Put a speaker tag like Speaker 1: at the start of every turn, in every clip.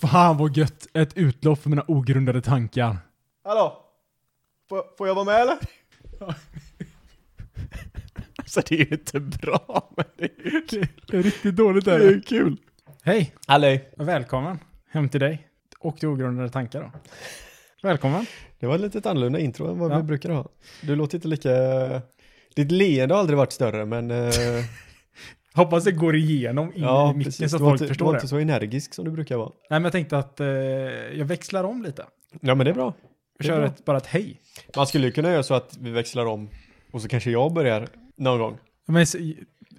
Speaker 1: Fan vad gött! Ett utlopp för mina ogrundade tankar.
Speaker 2: Hallå? Får, får jag vara med eller?
Speaker 3: Alltså det är ju inte bra, men det är ju kul.
Speaker 1: Det är riktigt dåligt
Speaker 3: Det är ju kul.
Speaker 1: Hej!
Speaker 3: Halloj.
Speaker 1: Välkommen hem till dig. Och till ogrundade tankar då. Välkommen.
Speaker 3: Det var ett litet annorlunda intro än vad
Speaker 1: Ja.
Speaker 3: vi brukar ha. Du låter inte lika... Ditt leende har aldrig varit större, men... eh,
Speaker 1: Hoppas det går igenom in i micken så
Speaker 3: Du
Speaker 1: att
Speaker 3: var,
Speaker 1: folk
Speaker 3: inte, du
Speaker 1: förstår
Speaker 3: var typ-
Speaker 1: det.
Speaker 3: inte så energisk som du brukar vara.
Speaker 1: Nej men jag tänkte att eh, jag växlar om lite.
Speaker 3: Ja, men det är bra.
Speaker 1: Jag
Speaker 3: Det är
Speaker 1: kör
Speaker 3: bra.
Speaker 1: ett, bara ett hej.
Speaker 3: Man skulle ju kunna göra så att vi växlar om och så kanske jag börjar någon gång.
Speaker 1: Men, s-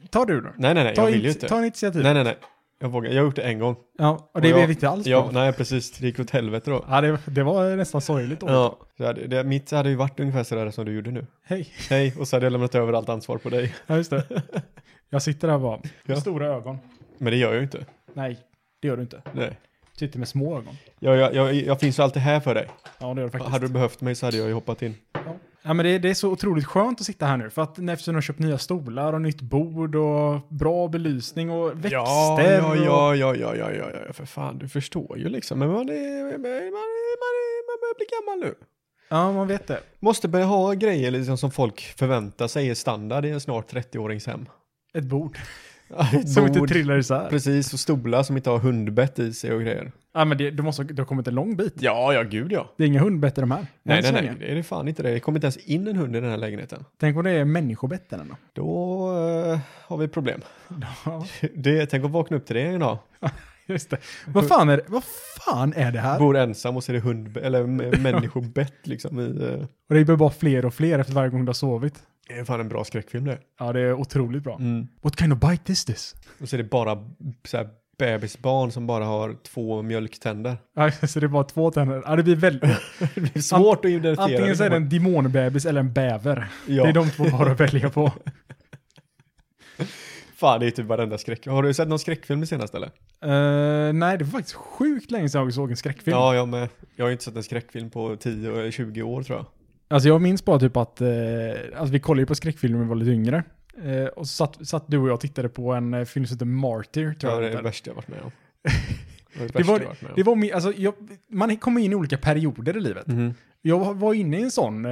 Speaker 1: ta du då.
Speaker 3: Nej, nej, nej,
Speaker 1: Ta,
Speaker 3: jag vill ju
Speaker 1: in,
Speaker 3: inte.
Speaker 1: ta initiativ.
Speaker 3: Nej, nej, nej. Jag vågar. Jag har gjort det en gång.
Speaker 1: Ja, och det
Speaker 3: Och jag-
Speaker 1: blev inte alls
Speaker 3: Ja,
Speaker 1: bra.
Speaker 3: nej, precis. Det gick åt helvete då.
Speaker 1: Ja, det, det var nästan sorgligt då.
Speaker 3: Ja, så hade, det, mitt hade ju varit ungefär sådär som du gjorde nu.
Speaker 1: Hej.
Speaker 3: Hej, och så hade jag lämnat över allt ansvar på dig.
Speaker 1: Ja, just det. Jag sitter här bara med
Speaker 3: Ja.
Speaker 1: stora ögon.
Speaker 3: Men det gör jag ju inte.
Speaker 1: Nej, det gör du inte.
Speaker 3: Nej.
Speaker 1: Du sitter med små ögon.
Speaker 3: Jag, jag, jag, jag finns ju alltid här för dig.
Speaker 1: Ja, det gör du faktiskt.
Speaker 3: Hade du behövt mig så hade jag ju hoppat in.
Speaker 1: Ja. Ja, men det, det är så otroligt skönt att sitta här nu. För att eftersom de har köpt nya stolar och nytt bord och bra belysning och växter.
Speaker 3: Ja, ja,
Speaker 1: Och...
Speaker 3: ja, ja, ja, ja, ja, ja, för fan, du förstår ju liksom. Men man, är, man, är, man, är, man börjar bli gammal nu.
Speaker 1: ja, man vet det.
Speaker 3: Måste börja ha grejer liksom som folk förväntar sig är standard i en snart 30-årings hem.
Speaker 1: Ett bord som
Speaker 3: Bord,
Speaker 1: inte trillar isär.
Speaker 3: Precis, och stolar som inte har hundbett i sig och grejer.
Speaker 1: Ja, men det, du, måste, du har kommit en lång bit.
Speaker 3: Ja, ja, gud ja.
Speaker 1: Det är inga hundbett i de här.
Speaker 3: Nej,
Speaker 1: Än så
Speaker 3: nej, nej,
Speaker 1: länge.
Speaker 3: det är det fan inte det. Det kommer inte ens in en hund i den här lägenheten.
Speaker 1: Tänk om det är människobetten ändå.
Speaker 3: Då eh, har vi problem.
Speaker 1: Ja,
Speaker 3: Det, tänk att vakna upp till det en dag.
Speaker 1: just det. Vad fan är det, vad fan är det här?
Speaker 3: Bor ensam och ser det hund, eller m- människobett liksom i... eh,
Speaker 1: Och det blir bara fler och fler efter varje gång du har sovit.
Speaker 3: Det är fan en bra skräckfilm det.
Speaker 1: Ja, det är otroligt
Speaker 3: Mm.
Speaker 1: bra. What kind of bite is this?
Speaker 3: Och så är det bara så här, bebisbarn som bara har två mjölktänder.
Speaker 1: Ja, så det är bara två tänder. Ja, det blir väldigt...
Speaker 3: Det blir svårt att identifiera.
Speaker 1: Antingen så är det
Speaker 3: liksom.
Speaker 1: en demonbebis eller en bäver.
Speaker 3: Ja.
Speaker 1: Det är de två man har att välja på.
Speaker 3: Fan, det är typ varenda skräck. Har du sett någon skräckfilm senast eller?
Speaker 1: Eh, nej, det var faktiskt sjukt länge sedan jag såg en skräckfilm.
Speaker 3: Ja, jag med. Jag har ju inte sett en skräckfilm på 10 eller 20 år tror jag.
Speaker 1: Alltså jag minns bara typ att, eh, alltså vi kollade ju på skräckfilmer när vi var lite yngre. Eh, och så satt, satt du och jag och tittade på en eh, film som heter Martyr, tror jag
Speaker 3: Ja, det är
Speaker 1: den
Speaker 3: det
Speaker 1: heter.
Speaker 3: värsta jag varit med om. Det var det
Speaker 1: det
Speaker 3: värsta
Speaker 1: var,
Speaker 3: jag varit med om.
Speaker 1: det var min, alltså jag, man kommer in i olika perioder i livet.
Speaker 3: Mhm.
Speaker 1: Jag var inne i en sån eh,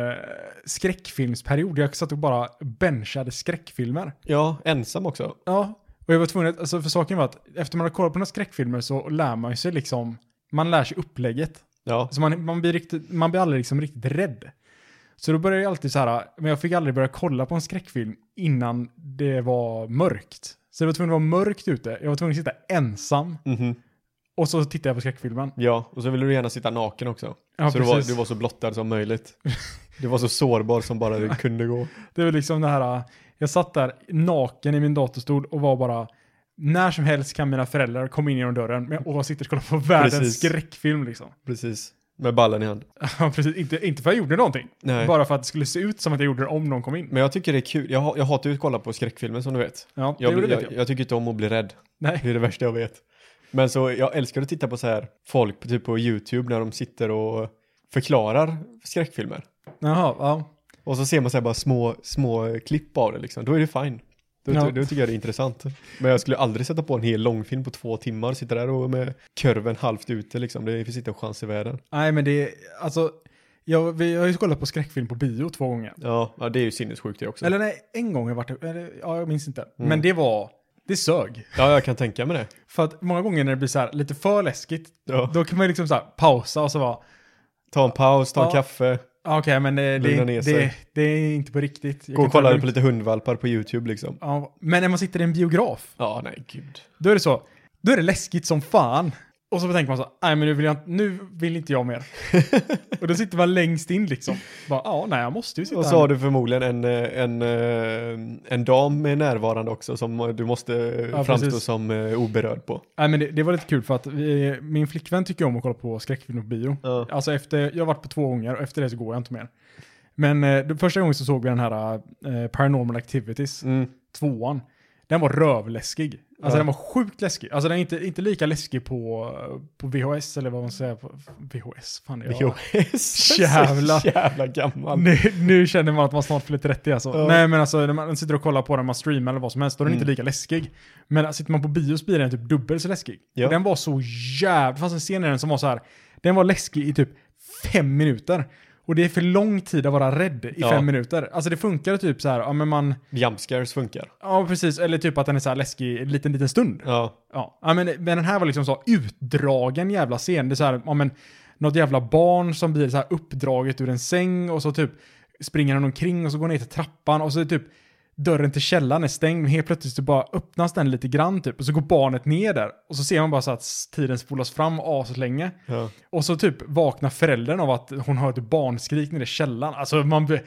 Speaker 1: skräckfilmsperiod. Jag satt och bara benchade skräckfilmer.
Speaker 3: Ja, ensam också.
Speaker 1: Ja, och jag var tvungen att, alltså för saken var att efter man har kollat på några skräckfilmer så lär man ju sig liksom, man lär sig upplägget.
Speaker 3: Ja,
Speaker 1: Så man, man, blir, riktigt, man blir aldrig liksom riktigt rädd. Så då började jag alltid så här, men jag fick aldrig börja kolla på en skräckfilm innan det var mörkt. Så det var tvungen att vara mörkt ute, jag var tvungen att sitta ensam
Speaker 3: Mhm.
Speaker 1: och så tittade jag på skräckfilmen.
Speaker 3: ja. Och så ville du gärna sitta naken också.
Speaker 1: Ja,
Speaker 3: så du var,
Speaker 1: precis.
Speaker 3: du var så blottad som möjligt. Du var så sårbar som bara det kunde gå.
Speaker 1: Det var liksom det här, jag satt där naken i min datorstol och var bara, när som helst kan mina föräldrar komma in genom dörren men- och jag sitter och kollar på världens
Speaker 3: Precis.
Speaker 1: skräckfilm liksom. Precis.
Speaker 3: Med ballen i hand.
Speaker 1: Ja, precis. Inte, inte för att jag gjorde någonting.
Speaker 3: Nej.
Speaker 1: Bara för att det skulle se ut som att jag gjorde det om någon kom in.
Speaker 3: Men jag tycker det är kul. Jag, ha- jag hatar ju att kolla på skräckfilmer som du vet.
Speaker 1: Ja, det
Speaker 3: Jag,
Speaker 1: gjorde typ.
Speaker 3: blir-
Speaker 1: jag,
Speaker 3: jag, jag tycker inte om att bli rädd. Det
Speaker 1: Nej.
Speaker 3: är det värsta jag vet. Men så jag älskar att titta på så här folk på- typ på YouTube när de sitter och förklarar skräckfilmer.
Speaker 1: Jaha, ja.
Speaker 3: Och så ser man så här bara små, små klipp av det liksom. Då är det fine. Då,
Speaker 1: Ja.
Speaker 3: då tycker jag det är intressant. Men jag skulle aldrig sätta på en hel långfilm på två timmar och sitta där och med kurven halvt ute liksom. Det finns inte en chans i världen.
Speaker 1: Nej, men det, alltså, jag, vi, jag har ju kollat på skräckfilm på bio två gånger.
Speaker 3: Ja, ja det är ju sinnessjukt det också.
Speaker 1: Eller nej, en gång har jag varit eller, ja, jag minns inte.
Speaker 3: Mm.
Speaker 1: Men det var, det sög.
Speaker 3: Ja, jag kan tänka mig det.
Speaker 1: För att många gånger när det blir så här lite för läskigt,
Speaker 3: Ja.
Speaker 1: då kan man ju liksom så här pausa och så vara,
Speaker 3: Ta en paus, ta en
Speaker 1: Ja.
Speaker 3: kaffe,
Speaker 1: "Ah, okej, men det,
Speaker 3: Lugna
Speaker 1: det,
Speaker 3: ner
Speaker 1: det,
Speaker 3: sig.
Speaker 1: det, är inte på riktigt. Jag
Speaker 3: gå
Speaker 1: kan
Speaker 3: och
Speaker 1: ta det
Speaker 3: kolla på
Speaker 1: lugnt."
Speaker 3: lite hundvalpar på YouTube liksom.
Speaker 1: Ja, men när man sitter i en biograf,
Speaker 3: Ja, nej gud.
Speaker 1: Då är det så. Då är det läskigt som fan. Och så tänker man så, nej men nu vill, jag, inte- nu vill inte jag mer. och då sitter man längst in liksom. Bara, ja nej jag måste ju sitta
Speaker 3: Och så har
Speaker 1: här.
Speaker 3: du förmodligen en, eh, en, eh, en dam med närvarande också som eh, du måste eh,
Speaker 1: Ja,
Speaker 3: framstå
Speaker 1: precis.
Speaker 3: som eh, oberörd på.
Speaker 1: Nej men det, det var lite kul för att vi, min flickvän tycker om att kolla på skräckfilm på bio.
Speaker 3: Ja.
Speaker 1: Alltså efter, jag har varit på två gånger och efter det så går jag inte mer. Men eh, den första gången så såg vi den här eh, Paranormal Activities,
Speaker 3: Mm.
Speaker 1: tvåan. Den var rövläskig. Alltså
Speaker 3: Ja.
Speaker 1: den var sjukt läskig. Alltså den är inte, inte lika läskig på, på VHS eller vad man säger. På VHS, fan jag...
Speaker 3: VHS.
Speaker 1: Jävla-
Speaker 3: Så jävla gammal.
Speaker 1: Nu, nu känner man att man snart fyller 30 alltså.
Speaker 3: Ja.
Speaker 1: Nej men alltså när man sitter och kollar på den, man streamar eller vad som helst, då är den inte
Speaker 3: Mm.
Speaker 1: lika läskig. Men sitter man på bio så blir den typ dubbelt så läskig.
Speaker 3: Ja.
Speaker 1: Och den var så jävla... Det fanns en scen i den som var så här. den var läskig i typ fem minuter. Och det är för lång tid att vara rädd i
Speaker 3: Ja.
Speaker 1: fem minuter. Alltså det funkade typ så här, ja men man...
Speaker 3: Jump scares funkar.
Speaker 1: Ja precis, eller typ att den är så här läskig en liten, liten stund.
Speaker 3: Ja.
Speaker 1: Ja, ja, men, men den här var liksom så utdragen jävla scen. Det är så här, ja, men, något jävla barn som blir så här uppdraget ur en säng och så typ springer han omkring och så går ner till trappan och så är typ dörren till källaren är stängd men helt plötsligt så bara öppnas den lite grann typ och så går barnet ner där och så ser man bara så att tiden spolas fram aslänge
Speaker 3: ja.
Speaker 1: och så typ vaknar föräldern av att hon hör ett barnskrik nere i källaren. Alltså man, blir-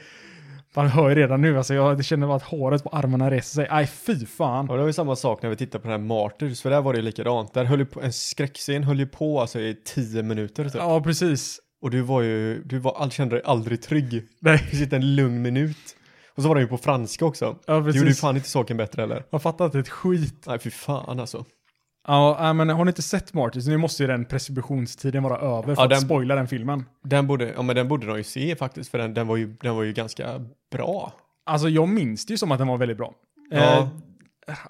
Speaker 1: man hör ju redan nu alltså jag det känner bara att håret på armarna reser sig. Aj fy fan.
Speaker 3: Och det var ju samma sak när vi tittade på den här Martyrs, för där var det ju likadant. Där höll ju på, en skräckscen höll ju på alltså i tio minuter typ.
Speaker 1: Ja precis.
Speaker 3: Och du var ju, du var, all, kände dig aldrig trygg.
Speaker 1: Nej.
Speaker 3: Precis en lugn minut. Och så var den ju på franska också.
Speaker 1: Ja,
Speaker 3: det
Speaker 1: precis.
Speaker 3: gjorde ju fan inte saken bättre heller.
Speaker 1: Jag fattar inte ett skit.
Speaker 3: Nej, fy fan alltså.
Speaker 1: Ja, nej, men har ni inte sett Marty så nu måste ju den prescriptionstiden vara över för
Speaker 3: Ja,
Speaker 1: att
Speaker 3: den-
Speaker 1: spoila den filmen.
Speaker 3: Den borde, ja men den borde de ju se faktiskt, för den, den, var, ju, den var ju ganska bra.
Speaker 1: Alltså jag minns det ju som att den var väldigt bra.
Speaker 3: Ja.
Speaker 1: Eh,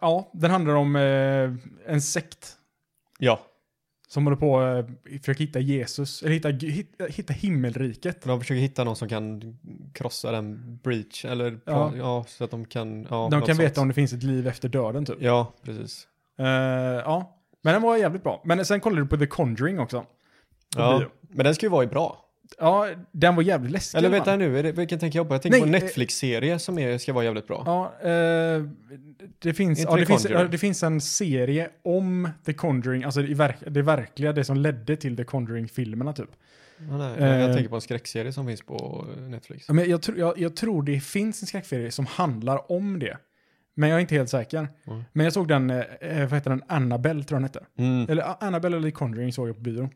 Speaker 1: ja den handlar om eh, en sekt
Speaker 3: Ja,
Speaker 1: som håller på att eh, försöka hitta Jesus, eller hitta, gu- hitta, hitta himmelriket.
Speaker 3: de försöker hitta någon som kan krossa den breach, eller ja,
Speaker 1: Ja.
Speaker 3: ja så att de kan, ja.
Speaker 1: De
Speaker 3: något
Speaker 1: kan veta
Speaker 3: sånt.
Speaker 1: om det finns ett liv efter döden typ.
Speaker 3: Ja, precis.
Speaker 1: Eh, ja, men den var jävligt bra. Men sen kollade du på The Conjuring också. På
Speaker 3: Ja,
Speaker 1: bio.
Speaker 3: men den ska ju vara bra.
Speaker 1: ja den var jävligt läskig.
Speaker 3: Eller
Speaker 1: i alla
Speaker 3: vänta
Speaker 1: fall.
Speaker 3: nu, är det, vilken tänker jag på? Jag tänker
Speaker 1: Nej,
Speaker 3: på en
Speaker 1: eh,
Speaker 3: Netflix-serie som är, ska vara jävligt bra.
Speaker 1: Ja, eh, det, finns,
Speaker 3: Inte
Speaker 1: ja,
Speaker 3: The
Speaker 1: det, finns,
Speaker 3: Conjuring.
Speaker 1: ja, det finns en serie om The Conjuring, alltså i verk, det verkliga, det som ledde till The Conjuring-filmerna typ.
Speaker 3: Ja, nej, jag-
Speaker 1: eh,
Speaker 3: jag tänker på en skräckserie som finns på eh, Netflix.
Speaker 1: Ja, Men jag, tror- jag, jag tror det finns en skräckserie som handlar om det. Men jag är inte helt säker.
Speaker 3: Mm.
Speaker 1: Men jag såg den, eh, eh, vad heter den, Annabelle tror jag den hette.
Speaker 3: Mm.
Speaker 1: Eller ah, Annabelle eller The Conjuring såg jag på bio.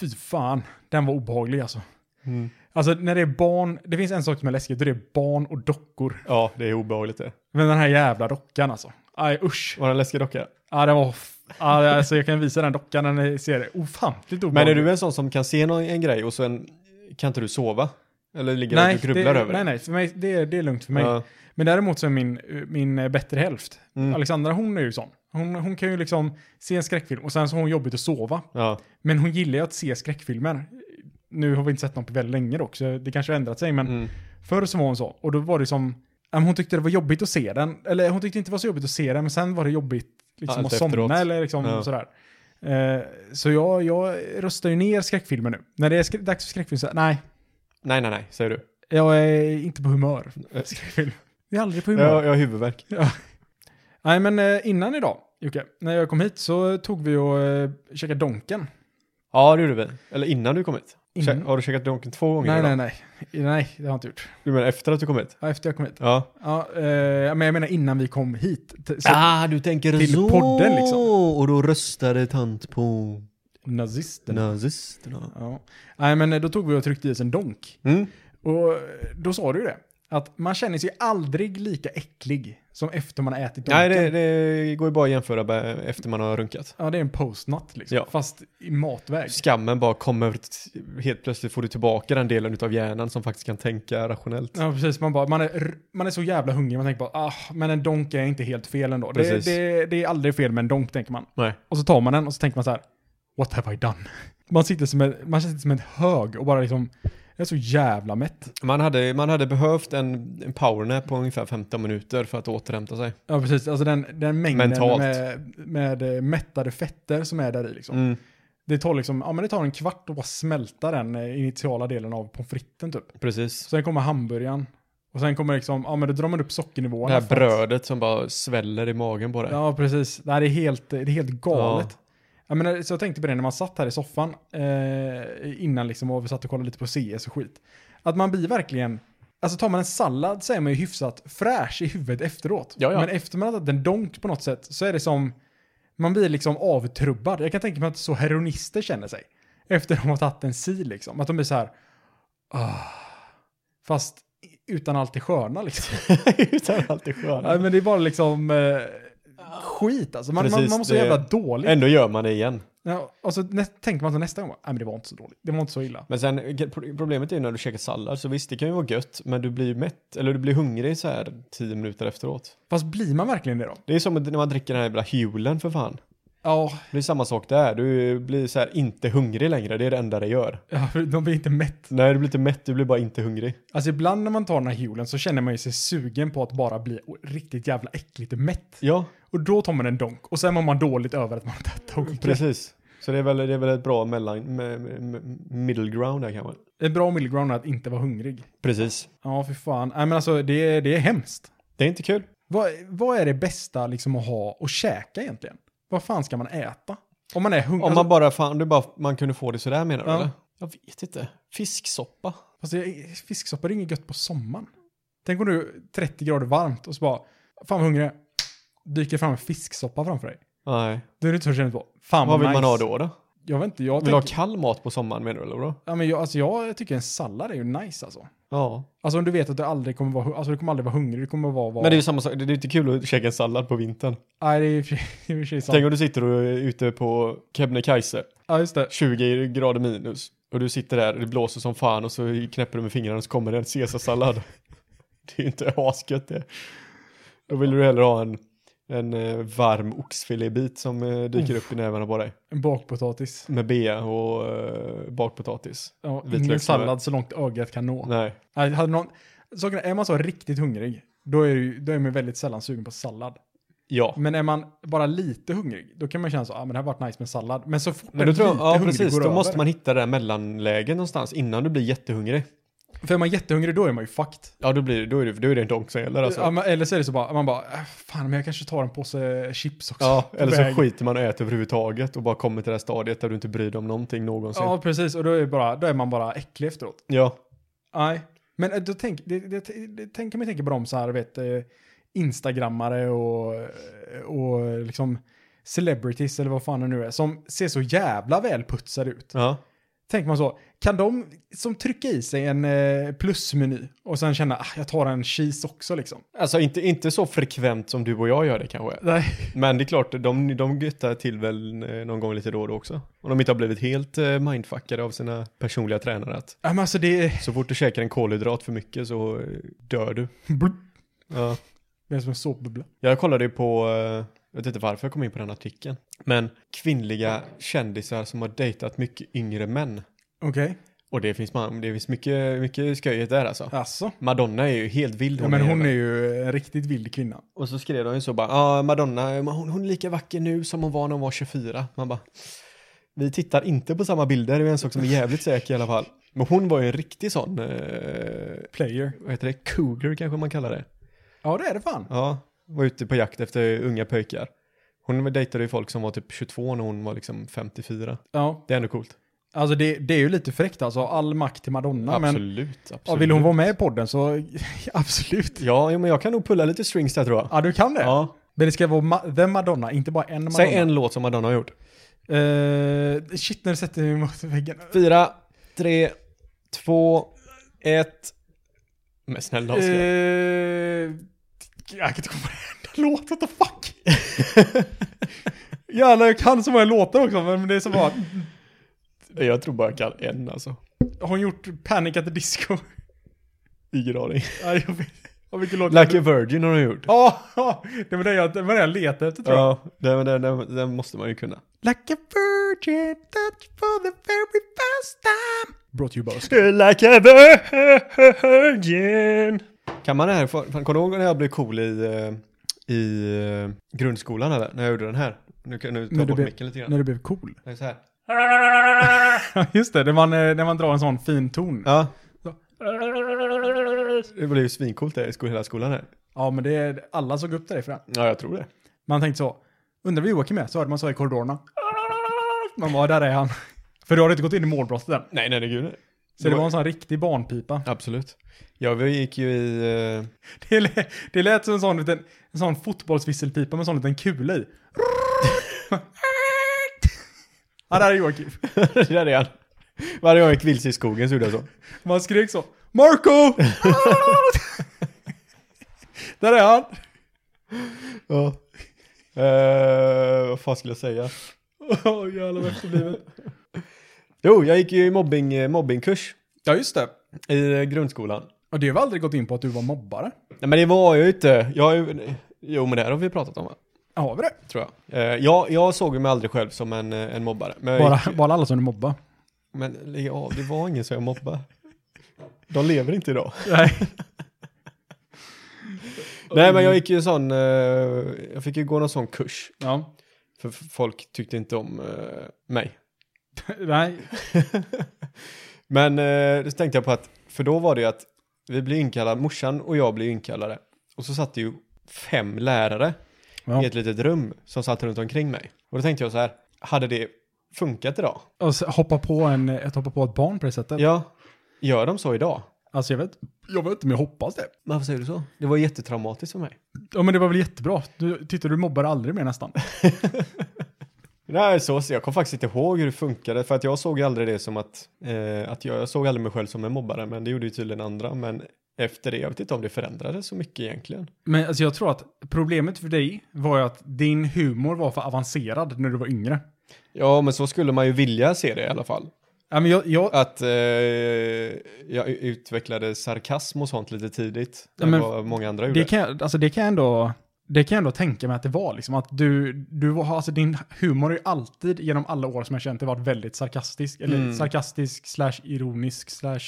Speaker 1: Fy fan, den var obehaglig alltså.
Speaker 3: Mm.
Speaker 1: Alltså när det är barn, det finns en sak som är läskig, då det är barn och dockor.
Speaker 3: Ja, det är obehagligt det.
Speaker 1: Men den här jävla dockan alltså. Aj usch.
Speaker 3: Var det en läskig docka?
Speaker 1: Ja, den var... f- Ja, alltså jag kan visa den dockan, den ser det ofantligt obehaglig.
Speaker 3: Men är du en sån som kan se någon, en grej och sen kan inte du sova? Eller ligger du
Speaker 1: nej,
Speaker 3: och
Speaker 1: det,
Speaker 3: grubblar över
Speaker 1: nej, nej, för mig, det, är- det är lugnt för mig.
Speaker 3: Ja.
Speaker 1: Men däremot så är min, min eh, bättre hälft,
Speaker 3: Mm.
Speaker 1: Alexandra, hon är ju sån. Hon, hon kan ju liksom se en skräckfilm och sen så har hon jobbigt att sova.
Speaker 3: Ja.
Speaker 1: Men hon gillar ju att se skräckfilmer. Nu har vi inte sett någon på väldigt länge dock, så det kanske har ändrat sig. Men
Speaker 3: Mm.
Speaker 1: förr så var hon så. Och då var det som, ja, men hon tyckte det var jobbigt att se den. Eller hon tyckte inte det var så jobbigt att se den, men sen var det jobbigt liksom,
Speaker 3: Allt
Speaker 1: att somna
Speaker 3: efteråt.
Speaker 1: eller liksom
Speaker 3: Ja.
Speaker 1: sådär. Eh, så jag, jag röstar ju ner skräckfilmer nu. När det är skrä- dags för skräckfilm så nej,
Speaker 3: nej, nej, nej, säger du.
Speaker 1: jag är inte på humör.
Speaker 3: Eh.
Speaker 1: för Skräckfilm. Jag är aldrig på humör.
Speaker 3: Jag, jag har huvudvärk.
Speaker 1: Nej, men eh, innan idag, Jocke, när jag kom hit så tog vi och eh, käkade Donken.
Speaker 3: Ja, det gjorde vi. Eller innan du kom hit.
Speaker 1: Innan.
Speaker 3: Kä- Har du käkat Donken två gånger?
Speaker 1: Nej,
Speaker 3: idag?
Speaker 1: nej, nej. Nej, det har jag inte gjort.
Speaker 3: Du menar efter att du kom hit?
Speaker 1: Ja, efter jag kom hit.
Speaker 3: Ja.
Speaker 1: Ja, eh, men jag menar innan vi kom hit. T- Så,
Speaker 3: ah, du tänker
Speaker 1: Till
Speaker 3: så.
Speaker 1: podden, liksom.
Speaker 3: Och då röstade tant på
Speaker 1: Nazisterna.
Speaker 3: nazisterna.
Speaker 1: Ja. Nej, men eh, då tog vi och tryckte i oss en donk.
Speaker 3: Mm.
Speaker 1: Och eh, då sa du ju det. Att man känner sig aldrig lika äcklig som efter man har ätit donken.
Speaker 3: Nej, det, det går ju bara att jämföra med efter man har runkat.
Speaker 1: Ja, det är en postnut liksom.
Speaker 3: Ja.
Speaker 1: Fast i matväg.
Speaker 3: Skammen bara kommer, t- helt plötsligt får du tillbaka den delen av hjärnan som faktiskt kan tänka rationellt.
Speaker 1: Ja, precis. Man, bara, man, är, man är så jävla hungrig. Man tänker bara, ah, men en donk är inte helt fel ändå. Det,
Speaker 3: Precis.
Speaker 1: det, det är aldrig fel med en donk, tänker man.
Speaker 3: Nej.
Speaker 1: Och så tar man den och så tänker man så här, what have I done? Man sitter som en, man sitter som en hög och bara liksom, jag är så jävla mätt.
Speaker 3: Man hade, man hade behövt en, en powernap på ungefär 15 minuter för att återhämta sig.
Speaker 1: Ja, precis. Alltså den, den mängden
Speaker 3: Mentalt.
Speaker 1: med, med eh, mättade fetter som är där i liksom.
Speaker 3: Mm.
Speaker 1: Det tar liksom, ja men det tar en kvart att bara smälta den eh, initiala delen av pommes fritesen typ.
Speaker 3: Precis.
Speaker 1: Sen kommer hamburgaren. Och sen kommer liksom, ja men då drar man upp
Speaker 3: Det
Speaker 1: sockernivåerna.
Speaker 3: här
Speaker 1: för att-
Speaker 3: brödet som bara sväller i magen på dig.
Speaker 1: Ja, precis. Det här är helt, det är helt galet. Jag menar, så jag tänkte på det när man satt här i soffan eh, innan liksom och vi satt och kollade lite på CS och skit. Att man blir verkligen, alltså tar man en sallad så är man ju hyfsat fräsch i huvudet efteråt.
Speaker 3: Ja, ja.
Speaker 1: Men efter man har tagit en donk på något sätt så är det som, man blir liksom avtrubbad. Jag kan tänka mig att så heroinister känner sig. Efter de har tagit en si liksom. Att de blir så här, ah, fast utan allt det sköna liksom.
Speaker 3: Utan allt det sköna.
Speaker 1: Nej, men det är bara liksom... Eh, skit alltså. Man, man,
Speaker 3: Precis,
Speaker 1: man mår så
Speaker 3: det- Eh.
Speaker 1: jävla dåligt.
Speaker 3: Ändå gör man det igen.
Speaker 1: Ja, och så nä- tänker man så nästa gång, nej men det var inte så dåligt. Det var inte så illa.
Speaker 3: Men sen ge- pro- problemet är ju när du käkar sallad, så visst det kan ju vara gött, men du blir ju mätt, eller du blir hungrig så här tio minuter efteråt.
Speaker 1: Fast blir man verkligen det då?
Speaker 3: Det är som när man dricker den här jävla hulen för fan.
Speaker 1: Ja,
Speaker 3: Det är samma sak där, du blir så här inte hungrig längre, det är det enda det gör.
Speaker 1: ja, för de blir inte mätt.
Speaker 3: Nej, du blir inte mätt, du blir bara inte hungrig.
Speaker 1: Alltså ibland när man tar den här hjulen så känner man ju sig sugen på att bara bli riktigt jävla äckligt mätt.
Speaker 3: Ja,
Speaker 1: Och då tar man en donk och sen mår man dåligt över att man har tagit donk.
Speaker 3: precis. Så det är väl, det är väl ett bra mellan, me- me- middle ground där kanske.
Speaker 1: En bra middle ground är att inte vara hungrig.
Speaker 3: Precis.
Speaker 1: Ja, för fan. Nej men alltså det, är- det är hemskt.
Speaker 3: Det är inte kul.
Speaker 1: Vad, vad är det bästa liksom att ha och käka egentligen? Vad fan ska man äta? Om man är hungrig.
Speaker 3: Om
Speaker 1: alltså,
Speaker 3: man bara, fan, du bara, man kunde få det sådär menar du
Speaker 1: Ja.
Speaker 3: eller? Jag vet inte. Fisksoppa.
Speaker 1: Fast jag- fisksoppa är inget gött på sommaren. Tänk om du är 30 grader varmt och så bara, fan vad hungrig jag är. Dyker fram en fisksoppa framför dig.
Speaker 3: Nej.
Speaker 1: Då är det inte så känner på, fan
Speaker 3: Vad vill
Speaker 1: nice.
Speaker 3: man ha då då?
Speaker 1: Jag vet inte, jag,
Speaker 3: Vill du ha
Speaker 1: tänker,
Speaker 3: kall mat på sommaren menar du eller vadå?
Speaker 1: ja, men jag, alltså, jag tycker en sallad är ju nice alltså.
Speaker 3: Ja.
Speaker 1: Alltså om du vet att du aldrig kommer vara, hu- alltså, du kommer aldrig vara hungrig, du kommer vara... vara
Speaker 3: Men det är ju samma sak, det det är inte kul att käka en sallad på vintern.
Speaker 1: Nej, det är ju i och för sig- i och för sig sant.
Speaker 3: Tänk om du sitter och är ute på Kebnekaise,
Speaker 1: Ja, just det.
Speaker 3: 20 grader minus. Och du sitter där, det blåser som fan och så knäpper du med fingrarna och så kommer det en caesarsallad. det är ju inte asgött det. Då vill du hellre ha en, en eh, varm oxfilébit som eh, dyker upp i nävarna på dig.
Speaker 1: En bakpotatis.
Speaker 3: Med bea och eh, bakpotatis.
Speaker 1: Ja, ingen
Speaker 3: Vitlökssmör.
Speaker 1: sallad så långt ögat kan nå.
Speaker 3: Nej,
Speaker 1: Nej, hade någon, saken är, är man så riktigt hungrig, då är, det ju- då är man väldigt sällan sugen på sallad.
Speaker 3: ja.
Speaker 1: Men är man bara lite hungrig, då kan man känna så, ah, men det här varit nice med sallad. Men så fort
Speaker 3: Men då
Speaker 1: en
Speaker 3: tror jag,
Speaker 1: lite
Speaker 3: ja
Speaker 1: hungrig
Speaker 3: precis,
Speaker 1: går
Speaker 3: då
Speaker 1: över,
Speaker 3: måste man hitta det där mellanläget någonstans innan du blir jättehungrig.
Speaker 1: För är man jättehungrig, då är man ju fucked.
Speaker 3: Ja, då, blir, då, är, det, då är det en donk som gäller alltså.
Speaker 1: Ja, men- Eller så är det så bara, man bara, "Äh, fan men jag kanske tar en påse eh, chips också.
Speaker 3: Ja,
Speaker 1: på
Speaker 3: eller
Speaker 1: vägen."
Speaker 3: så skiter man och äter överhuvudtaget och bara kommer till det här stadiet där du inte bryr dig om någonting någonsin.
Speaker 1: Ja,
Speaker 3: Ja.
Speaker 1: precis. Och då är, det bara, då är man bara äcklig efteråt. Nej, men eh, då tänk, det, det, det, tänk om jag tänker på de så här, vet, eh, instagrammare och, eh, och liksom celebrities eller vad fan det nu är, som ser så jävla välputsade ut.
Speaker 3: Ja.
Speaker 1: Tänker man så, kan de som trycker i sig en eh, plusmeny och sen känna, ah, jag tar en cheese också liksom.
Speaker 3: Alltså inte, inte så frekvent som du och jag gör det kanske.
Speaker 1: Nej.
Speaker 3: Men det är klart, de, de göttar till väl eh, någon gång lite då och då också. Om de inte har blivit helt eh, mindfuckade av sina personliga tränare. Att
Speaker 1: Ja, men alltså det är...
Speaker 3: så fort du käkar en kolhydrat för mycket så eh, dör du. Ja.
Speaker 1: Det är som en såpbubbla.
Speaker 3: Jag kollade ju på, eh, jag vet inte varför jag kom in på den artikeln, men kvinnliga kändisar som har dejtat mycket yngre män.
Speaker 1: Okej.
Speaker 3: Och det finns, man, det finns mycket, mycket sköjigt där alltså.
Speaker 1: Alltså.
Speaker 3: Madonna är ju helt vild.
Speaker 1: Ja, men hon
Speaker 3: jävla-
Speaker 1: är ju en riktigt vild kvinna.
Speaker 3: Och så skrev de ju så bara, ja Madonna, men hon, hon är lika vacker nu som hon var när hon var 24. Man bara, vi tittar inte på samma bilder, det är en sak som är jävligt säker i alla fall. Men hon var ju en riktig sån, eh,
Speaker 1: Player.
Speaker 3: vad heter det, cougar kanske man kallar det.
Speaker 1: Ja, det är det fan.
Speaker 3: Ja, var ute på jakt efter unga pojkar. Hon dejtade ju folk som var typ 22 när hon var liksom 54.
Speaker 1: Ja.
Speaker 3: Det är ändå coolt.
Speaker 1: Alltså det, det är ju lite fräckt alltså. All makt till Madonna. Men
Speaker 3: absolut, absolut.
Speaker 1: ja, vill hon vara med i podden så absolut.
Speaker 3: Ja, jo, men jag kan nog pulla lite strings där tror jag.
Speaker 1: Ja, du kan det.
Speaker 3: Ja.
Speaker 1: Men det ska vara Ma- The Madonna, inte bara en Madonna.
Speaker 3: Säg en låt som Madonna har gjort.
Speaker 1: Eh, shit, när du sätter mig mot väggen.
Speaker 3: Fyra, tre, två, ett. Men snälla
Speaker 1: Eh,
Speaker 3: Oskar.
Speaker 1: jag kan inte komma på en enda låt, what the fuck? Jävlar, jag kan så många låtar också, men det är så bara...
Speaker 3: Jag tror bara jag kan en alltså.
Speaker 1: Har hon gjort Panic at the Disco?
Speaker 3: Ingen aning.
Speaker 1: Ja, jag vet. Och vilken låt?
Speaker 3: Like a Virgin har hon gjort.
Speaker 1: Ja, ja, det var det jag, det var det jag letade efter tror jag.
Speaker 3: Ja, den, den, den, den måste man ju kunna.
Speaker 1: Like a virgin touch for the very first time. Brought to you by Oscar.
Speaker 3: Like a virgin. Kan man det här? Fan, Kommer du ihåg när jag blev cool i, eh, i eh, grundskolan eller? När jag gjorde den här? Nu kan nu ta
Speaker 1: När
Speaker 3: jag
Speaker 1: du
Speaker 3: bort
Speaker 1: blev-
Speaker 3: micken lite grann.
Speaker 1: När du blev cool.
Speaker 3: Det är så här.
Speaker 1: Just det, när man, eh, när man drar en sån fin ton.
Speaker 3: Ja,
Speaker 1: Så.
Speaker 3: det blev ju svincoolt det i sko- hela skolan här.
Speaker 1: Ja, men det är, alla såg upp till dig för det.
Speaker 3: Ja, jag tror det.
Speaker 1: Man tänkte så, undrar vad Joakim är? Så hörde man så i korridorerna. Man bara, där är han. För du har inte gått in i målbrottet än.
Speaker 3: Nej, nej, nej, gud nej.
Speaker 1: Så det var en sån riktig barnpipa.
Speaker 3: Absolut. Ja, vi gick ju i... eh,
Speaker 1: Det lät, det lät som en sån, liten, en sån fotbollsvisselpipa med en sån liten kula i. ja, där är Joakim.
Speaker 3: det eh, där är han. Varje gång jag gick vilse i skogen så gjorde jag så.
Speaker 1: Man skrek så. Marco! där är han.
Speaker 3: Ja. Eh, vad fan skulle jag säga?
Speaker 1: Åh, jävla efterblivet.
Speaker 3: Jo, jag gick ju i mobbing, eh, mobbingkurs
Speaker 1: Ja, just det.
Speaker 3: i eh, grundskolan.
Speaker 1: Och det har vi aldrig gått in på att du var mobbare.
Speaker 3: Nej men det var jag ju inte. Jag, är ju- jo men det här har vi pratat om va?
Speaker 1: Har vi det?
Speaker 3: Tror jag. Eh, jag, jag såg ju mig aldrig själv som en, eh, en mobbare. Men, jag
Speaker 1: Bara,
Speaker 3: gick,
Speaker 1: bara alla som du mobbar.
Speaker 3: men lägg av, det var ingen som jag mobbade. De lever inte idag.
Speaker 1: Nej.
Speaker 3: Nej men jag gick ju en sån, eh, jag fick ju gå någon sån kurs.
Speaker 1: Ja.
Speaker 3: För f- folk tyckte inte om eh, mig.
Speaker 1: Nej.
Speaker 3: Men eh, då tänkte jag på att, för då var det ju att vi blev inkallade, morsan och jag blev inkallade. Och så satt det ju fem lärare
Speaker 1: Ja.
Speaker 3: i ett litet rum som satt runt omkring mig. Och då tänkte jag så här, hade det funkat idag?
Speaker 1: Och så hoppa på, en, ett, hoppa på ett barn på det sättet.
Speaker 3: Ja, gör de så idag?
Speaker 1: Alltså jag vet, jag vet inte, men jag hoppas det.
Speaker 3: Varför säger du så? Det var jättetraumatiskt för mig.
Speaker 1: Ja men det var väl jättebra. Du, titta, du mobbar aldrig mer nästan.
Speaker 3: Nej, så, så jag kommer faktiskt inte ihåg hur det funkade, för att jag såg aldrig det som att, eh, att jag, jag såg aldrig mig själv som en mobbare, men det gjorde ju tydligen andra, men efter det, jag vet inte om det förändrades så mycket egentligen.
Speaker 1: Men alltså jag tror att problemet för dig var ju att din humor var för avancerad när du var yngre.
Speaker 3: Ja, men så skulle man ju vilja se det i alla fall.
Speaker 1: Ja men jag, jag,
Speaker 3: Att eh, jag u- utvecklade sarkasm och sånt lite tidigt,
Speaker 1: Ja,
Speaker 3: än
Speaker 1: men
Speaker 3: vad många andra gjorde.
Speaker 1: det, kan, jag- alltså det kan jag ändå... Det kan jag ändå tänka mig att det var liksom att du, du var, alltså din humor har ju alltid genom alla år som jag känt det varit väldigt sarkastisk, eller
Speaker 3: Mm.
Speaker 1: sarkastisk slash ironisk slash,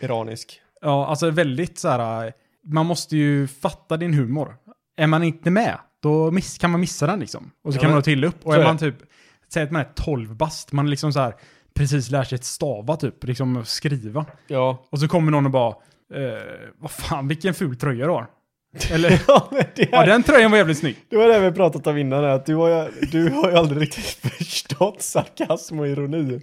Speaker 3: Iranisk.
Speaker 1: ja alltså väldigt så här, man måste ju fatta din humor. Är man inte med, då miss, kan man missa den liksom. Och så
Speaker 3: Ja,
Speaker 1: kan
Speaker 3: men-
Speaker 1: man till upp. Och är
Speaker 3: så är
Speaker 1: man
Speaker 3: det.
Speaker 1: typ, säg att man är 12 bast, man liksom så här precis lär sig ett stava typ, liksom skriva.
Speaker 3: Ja.
Speaker 1: Och så kommer någon och bara, eh, vad fan vilken ful tröja du har. Eller,
Speaker 3: ja, men det,
Speaker 1: ja
Speaker 3: här,
Speaker 1: den tröjan var jävligt snygg.
Speaker 3: det var det vi pratat om innan, här, att du har, ju- du har ju aldrig riktigt förstått sarkasm och ironi.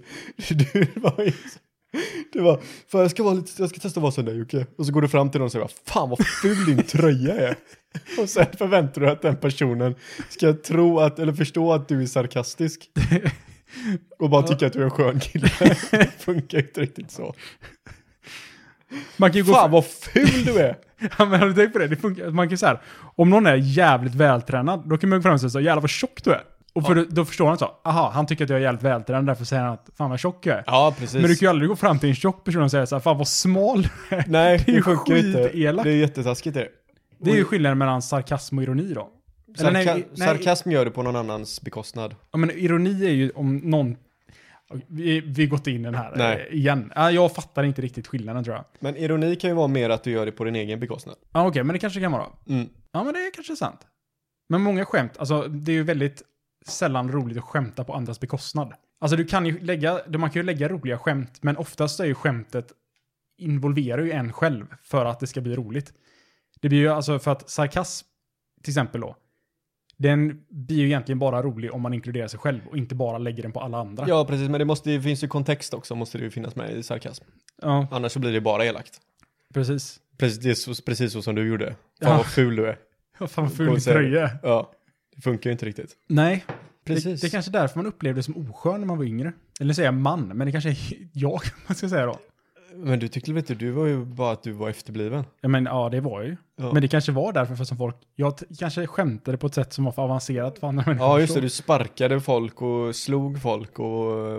Speaker 3: Du var ju... så- Du var, för jag ska, vara lite, jag ska testa att vara som dig Jocke. Och så går du fram till någon och säger fan vad ful din tröja är. Och sen förväntar du dig att den personen ska tro att, eller förstå att du är sarkastisk. Och bara tycka att du är en skön kille. Det funkar ju inte riktigt så.
Speaker 1: Man kan ju gå
Speaker 3: Fan vad ful du är!
Speaker 1: Ja, men har du tänkt på det? det funkar, man kan så här, om någon är jävligt vältränad, då kan man gå fram och säga så här, jävlar vad tjock du är. Och för, då förstår han så, aha, han tycker att jag är jävligt vältränad, därför säger han att fan vad tjock jag är.
Speaker 3: Ja, precis.
Speaker 1: men du kan ju aldrig gå fram till en tjock person och säga så här, fan vad smal du är.
Speaker 3: Nej,
Speaker 1: Det
Speaker 3: det,
Speaker 1: är ju
Speaker 3: funkar ju inte.
Speaker 1: skitelakt.
Speaker 3: Det är jättetaskigt det.
Speaker 1: Det är ju skillnaden mellan sarkasm och ironi då. Eller
Speaker 3: Sarka-
Speaker 1: nej, i- nej,
Speaker 3: sarkasm gör du på någon annans bekostnad.
Speaker 1: Ja, men ironi är ju om någon... Vi, vi har gått in den här
Speaker 3: Nej.
Speaker 1: eh, igen. Ja, jag fattar inte riktigt skillnaden tror jag.
Speaker 3: Men ironi kan ju vara mer att du gör det på din egen bekostnad.
Speaker 1: Ja, okej, men det kanske kan vara.
Speaker 3: Mm.
Speaker 1: Ja, men det är kanske sant. Men många skämt, alltså det är ju väldigt sällan roligt att skämta på andras bekostnad. Alltså du kan ju lägga, man kan ju lägga roliga skämt, men oftast är ju skämtet involverar ju en själv för att det ska bli roligt. Det blir ju alltså för att sarkasm, till exempel då, den blir ju egentligen bara rolig om man inkluderar sig själv och inte bara lägger den på alla andra.
Speaker 3: Ja, precis. Men det måste, ju- finns ju kontext också, måste det ju finnas med i sarkasm.
Speaker 1: Ja,
Speaker 3: Annars så blir det bara elakt.
Speaker 1: precis.
Speaker 3: Precis, det är så, precis så som du gjorde. Fan
Speaker 1: Ja.
Speaker 3: vad ful du är.
Speaker 1: Ja, fan vad
Speaker 3: Går
Speaker 1: ful
Speaker 3: och
Speaker 1: din
Speaker 3: säger det.
Speaker 1: tröja är.
Speaker 3: Ja, det funkar ju inte riktigt.
Speaker 1: Nej,
Speaker 3: Precis.
Speaker 1: Det, det kanske är därför man upplevde det som oskön när man var yngre. Eller säga man, men det kanske är jag man ska säga då.
Speaker 3: Men du tyckte väl inte, du var ju bara att du var efterbliven.
Speaker 1: Ja, men ja, det var jag ju.
Speaker 3: Ja.
Speaker 1: Men det kanske var därför för som folk, jag t- kanske skämtade på ett sätt som var för avancerat för andra människor.
Speaker 3: Ja,
Speaker 1: att
Speaker 3: just
Speaker 1: förstå.
Speaker 3: det. Du sparkade folk och slog folk och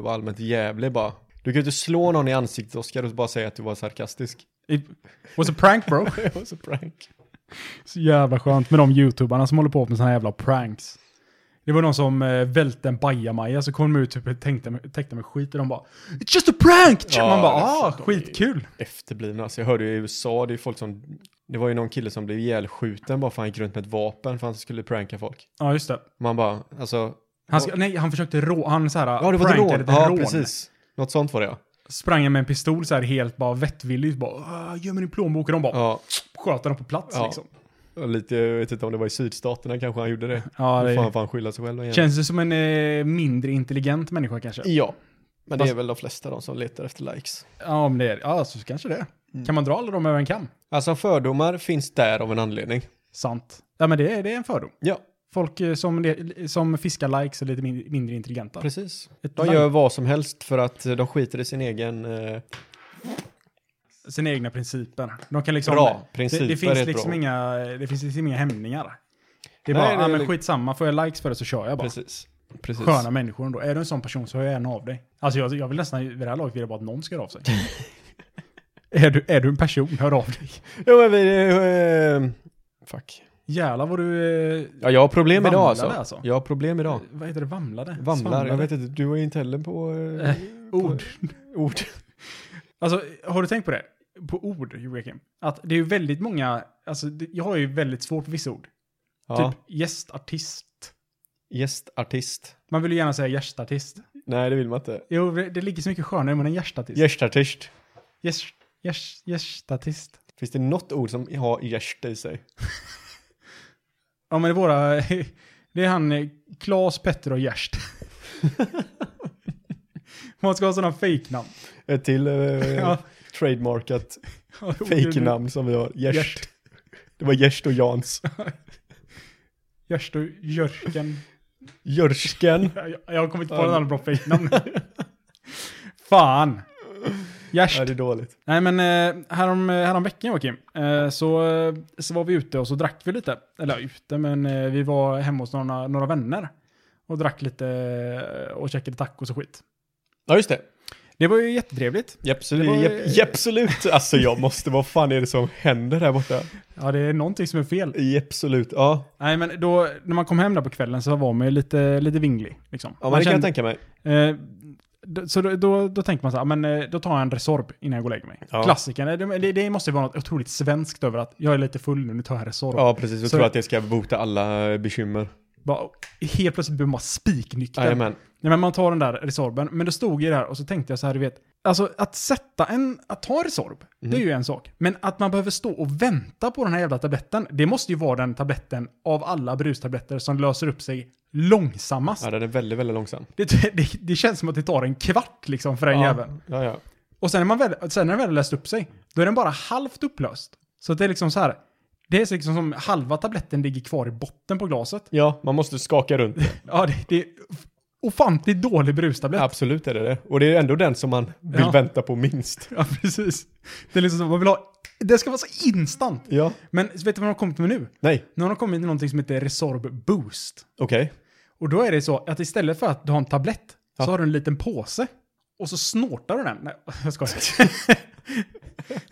Speaker 3: var allmänt jävlig bara. Du kan ju inte slå någon i ansiktet, Oskar, och bara säga att du var sarkastisk.
Speaker 1: It was a prank bro.
Speaker 3: Det var så prank.
Speaker 1: Så jävla skönt med de youtubarna som håller på med såna här jävla pranks. Det var någon som eh, välte en bajamaja så kom de ut typ tänkte med, täckta med skit och de bara It's just a prank!
Speaker 3: Ja,
Speaker 1: man bara
Speaker 3: det är
Speaker 1: ah,
Speaker 3: fan-
Speaker 1: skitkul.
Speaker 3: Efterblivna. Alltså, jag hörde ju i USA, det är folk som... Det var ju någon kille som blev ihjälskjuten bara för han gick runt med ett vapen för han skulle pranka folk.
Speaker 1: Ja, just det.
Speaker 3: Man bara, alltså...
Speaker 1: Han, ska, nej, han försökte rå, han så här,
Speaker 3: Ja, det var ett rån.
Speaker 1: ett
Speaker 3: Ja,
Speaker 1: rån.
Speaker 3: precis. Något sånt var det, ja.
Speaker 1: sprang han med en pistol så här helt bara vettvilligt. Bara, "Ah, ge mig din plånbok. Och de bara
Speaker 3: Ja,
Speaker 1: sköt honom på plats
Speaker 3: Ja.
Speaker 1: liksom.
Speaker 3: och lite, jag vet inte om det var i sydstaterna kanske han gjorde det.
Speaker 1: Ja,
Speaker 3: Då
Speaker 1: det
Speaker 3: får han fan skylla sig själv igen.
Speaker 1: känns det som en eh, mindre intelligent människa kanske.
Speaker 3: Ja, men det
Speaker 1: Fast-
Speaker 3: är väl de flesta de som letar efter likes.
Speaker 1: Ja, om det är, ja, så kanske det.
Speaker 3: Mm.
Speaker 1: Kan man dra alla dem över en kam?
Speaker 3: Alltså fördomar finns där av en anledning.
Speaker 1: Sant. Ja, men det är, det är en fördom.
Speaker 3: Ja,
Speaker 1: Folk eh, som, le- som fiskar likes är lite min, mindre intelligenta.
Speaker 3: precis.
Speaker 1: Ett
Speaker 3: De
Speaker 1: like-
Speaker 3: gör vad som helst för att eh, de skiter i sin egen... Eh,
Speaker 1: Sina egna principer. De kan liksom...
Speaker 3: Bra.
Speaker 1: Det,
Speaker 3: Principer
Speaker 1: det,
Speaker 3: är
Speaker 1: finns
Speaker 3: ett
Speaker 1: liksom
Speaker 3: bra ord.
Speaker 1: inga, det finns liksom inga hämningar. Det är
Speaker 3: Nej,
Speaker 1: bara,
Speaker 3: det är
Speaker 1: ah, men
Speaker 3: li-
Speaker 1: skitsamma, får jag likes för det så kör jag bara.
Speaker 3: Precis. Precis.
Speaker 1: Sköna människor ändå. Är du en sån person så hör jag gärna av dig. Alltså jag, jag vill nästan i det här laget vilja bara att någon ska höra av sig. är, du, är du en person, hör av dig.
Speaker 3: Jo, men vi... eh, fuck.
Speaker 1: Jävlar vad du... Eh,
Speaker 3: Ja, jag har problem idag
Speaker 1: Vamlade
Speaker 3: alltså.
Speaker 1: alltså.
Speaker 3: Jag har problem idag.
Speaker 1: vad heter det? Vamlade?
Speaker 3: Vamlar.
Speaker 1: Svamlade?
Speaker 3: Jag vet inte, du var ju inte heller på... eh,
Speaker 1: Eh, Ord.
Speaker 3: Ord.
Speaker 1: Alltså, har du tänkt på det? På ord, Joakim. Att det är ju väldigt många, alltså det, jag har ju väldigt svårt för vissa ord.
Speaker 3: Ja.
Speaker 1: Typ gästartist.
Speaker 3: Gästartist.
Speaker 1: Man vill ju gärna säga gästartist.
Speaker 3: Nej, det vill man inte.
Speaker 1: Jo, det, det ligger så mycket skönare i munnen, gästartist.
Speaker 3: Gästartist.
Speaker 1: Gäst- gäst- Gästartist.
Speaker 3: Finns det något ord som har gäst i sig?
Speaker 1: Ja, men det är våra... Det är han eh, Claes, Petter och Gäst. Man ska ha sådana fejknamn.
Speaker 3: Ett till eh,
Speaker 1: Ja.
Speaker 3: trademarkat
Speaker 1: Ja,
Speaker 3: fejknamn som vi har. Gäst.
Speaker 1: Gäst.
Speaker 3: Det var Gäst och Jans.
Speaker 1: Gäst och Jörken.
Speaker 3: Görsken.
Speaker 1: Jag, jag har kommit på en annan bra fejknamn. Fan. Gäst.
Speaker 3: Ja, det är dåligt.
Speaker 1: Nej men eh, härom, härom veckan Joakim, eh, så, eh, så var vi ute och så drack vi lite. Eller ute, men eh, vi var hemma hos några, några vänner. Och drack lite eh, och käkade tacos och skit.
Speaker 3: Ja, just det.
Speaker 1: Det var ju jättetrevligt.
Speaker 3: Absolut.
Speaker 1: Det var-
Speaker 3: Absolut. Alltså jag måste, vad fan är det som händer här borta?
Speaker 1: Ja, det är någonting som är fel.
Speaker 3: Absolut. Ja,
Speaker 1: Nej men då, när man kom hem där på kvällen så var man ju lite, lite vinglig. Liksom.
Speaker 3: ja men
Speaker 1: man
Speaker 3: det kan jag tänka mig.
Speaker 1: Eh, d- så då, då, då tänker man så här, men eh, då tar jag en Resorb innan jag går och lägger mig.
Speaker 3: Ja.
Speaker 1: Klassikern, det, det, det måste ju vara något otroligt svenskt över att jag är lite full nu, nu tar jag en Resorb.
Speaker 3: Ja, precis. Jag
Speaker 1: Så-
Speaker 3: tror att det ska bota alla bekymmer.
Speaker 1: Bara, helt plötsligt blir man bara spiknykter.
Speaker 3: Jajamän.
Speaker 1: Nej men man tar den där Resorben, men då stod jag där och så tänkte jag så här, du vet. Alltså att sätta en, att ta en Resorb,
Speaker 3: Mhm.
Speaker 1: det är ju en sak. Men att man behöver stå och vänta på den här jävla tabletten, det måste ju vara den tabletten av alla brustabletter som löser upp sig långsammast.
Speaker 3: Ja, den är väldigt, väldigt långsam.
Speaker 1: Det, det, det känns som att det tar en kvart liksom för den
Speaker 3: Ja,
Speaker 1: jäveln.
Speaker 3: ja, ja.
Speaker 1: Och sen när, man väl, sen när den väl har läst upp sig, då är den bara halvt upplöst. Så att det är liksom så här. Det är liksom som halva tabletten ligger kvar i botten på glaset.
Speaker 3: Ja, man måste skaka runt.
Speaker 1: Ja, det, det är ofantligt dålig brustablett. Ja.
Speaker 3: Absolut är det det. Och det är ändå den som man vill
Speaker 1: Ja.
Speaker 3: vänta på minst.
Speaker 1: precis. Det är liksom som man vill ha... Det ska vara så instant.
Speaker 3: Ja.
Speaker 1: Men vet du vad de har kommit med nu?
Speaker 3: Nej,
Speaker 1: Nu har de kommit med någonting som heter Resorb Boost.
Speaker 3: okej.
Speaker 1: Och då är det så att istället för att du har en tablett
Speaker 3: Ja.
Speaker 1: så har du en liten påse. Och så snortar du den. Nej, jag skojar.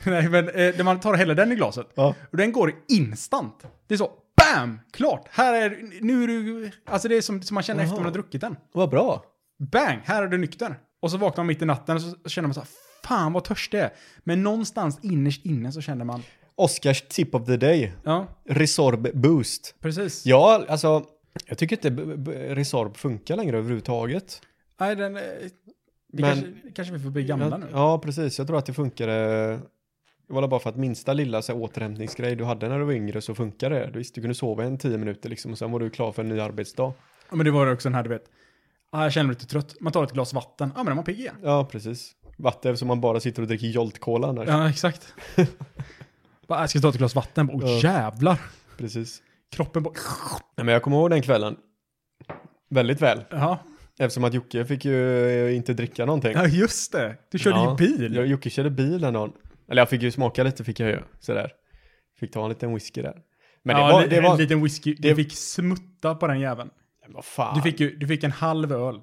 Speaker 1: Nej, men eh, när man tar hela den i glaset.
Speaker 3: Ja.
Speaker 1: Och den går instant. Det är så, bam! Klart! Här är, nu är du... Alltså det är som, som man känner efter man har druckit den.
Speaker 3: Vad bra.
Speaker 1: Bang! Här är du nykter. Och så vaknar man mitt i natten och så känner man så här, fan vad törstig jag är. Men någonstans innerst inne så känner man,
Speaker 3: Oscars tip of the day.
Speaker 1: ja,
Speaker 3: Resorb boost.
Speaker 1: precis.
Speaker 3: Ja, alltså. Jag tycker inte b- b- Resorb funkar längre överhuvudtaget.
Speaker 1: Nej, den... eh, Vi
Speaker 3: Men-
Speaker 1: kanske, kanske vi får bli gamla nu.
Speaker 3: Jag, ja, precis. Jag tror att det funkar. eh, Det var bara för att minsta lilla så här, återhämtningsgrej du hade när du var yngre så funkar det. Du, visst, du kunde sova en tio minuter liksom och sen var du klar för en ny arbetsdag.
Speaker 1: Ja, men det var ju också den här, du vet. Ah, jag känner mig lite trött. Man tar ett glas vatten. Ja, men då är man pigg igen.
Speaker 3: Ja, precis. Vatten eftersom man bara sitter och dricker Jolt Cola annars.
Speaker 1: Ja, exakt. Bara, jag ska ta ett glas vatten. Åh,
Speaker 3: Ja.
Speaker 1: jävlar.
Speaker 3: Precis.
Speaker 1: Kroppen bara...
Speaker 3: Nej, men jag kommer ihåg den kvällen. Väldigt väl.
Speaker 1: Ja,
Speaker 3: Eftersom att Jocke fick ju eh, inte dricka någonting.
Speaker 1: ja just det. Du körde
Speaker 3: Ja,
Speaker 1: ju bil.
Speaker 3: Jag, Jocke körde bil den dagen. Eller jag fick ju smaka lite fick jag ju. Sådär. Fick ta en liten whisky där. Men det
Speaker 1: ja,
Speaker 3: var,
Speaker 1: li-
Speaker 3: det
Speaker 1: en
Speaker 3: var,
Speaker 1: liten whisky.
Speaker 3: det-
Speaker 1: Du fick smutta på den jäveln.
Speaker 3: Men vad fan.
Speaker 1: Du fick, ju, du fick en halv öl.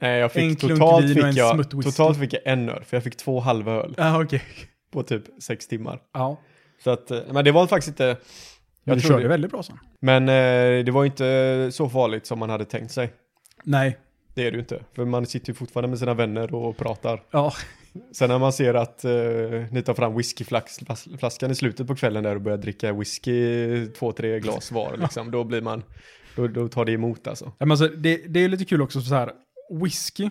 Speaker 3: Nej, jag fick
Speaker 1: en klunk
Speaker 3: totalt
Speaker 1: vin och en
Speaker 3: fick jag,
Speaker 1: smutt whisky.
Speaker 3: totalt fick jag en öl. För jag fick två halva öl
Speaker 1: Ja, okej.
Speaker 3: på typ sex timmar.
Speaker 1: Ja.
Speaker 3: Så att, eh, men det var faktiskt inte.
Speaker 1: Men
Speaker 3: Jag
Speaker 1: du
Speaker 3: tror
Speaker 1: körde
Speaker 3: det,
Speaker 1: väldigt bra sen.
Speaker 3: men eh, det var ju inte så farligt som man hade tänkt sig.
Speaker 1: Nej.
Speaker 3: Det är det ju inte. För man sitter ju fortfarande med sina vänner och pratar.
Speaker 1: Ja,
Speaker 3: Sen när man ser att eh, ni tar fram whiskyflaskan i slutet på kvällen där och börjar dricka whisky två, tre glas var liksom, då blir man, då, då tar det emot alltså.
Speaker 1: Ja, men alltså, det, det är lite kul också så här. Whisky,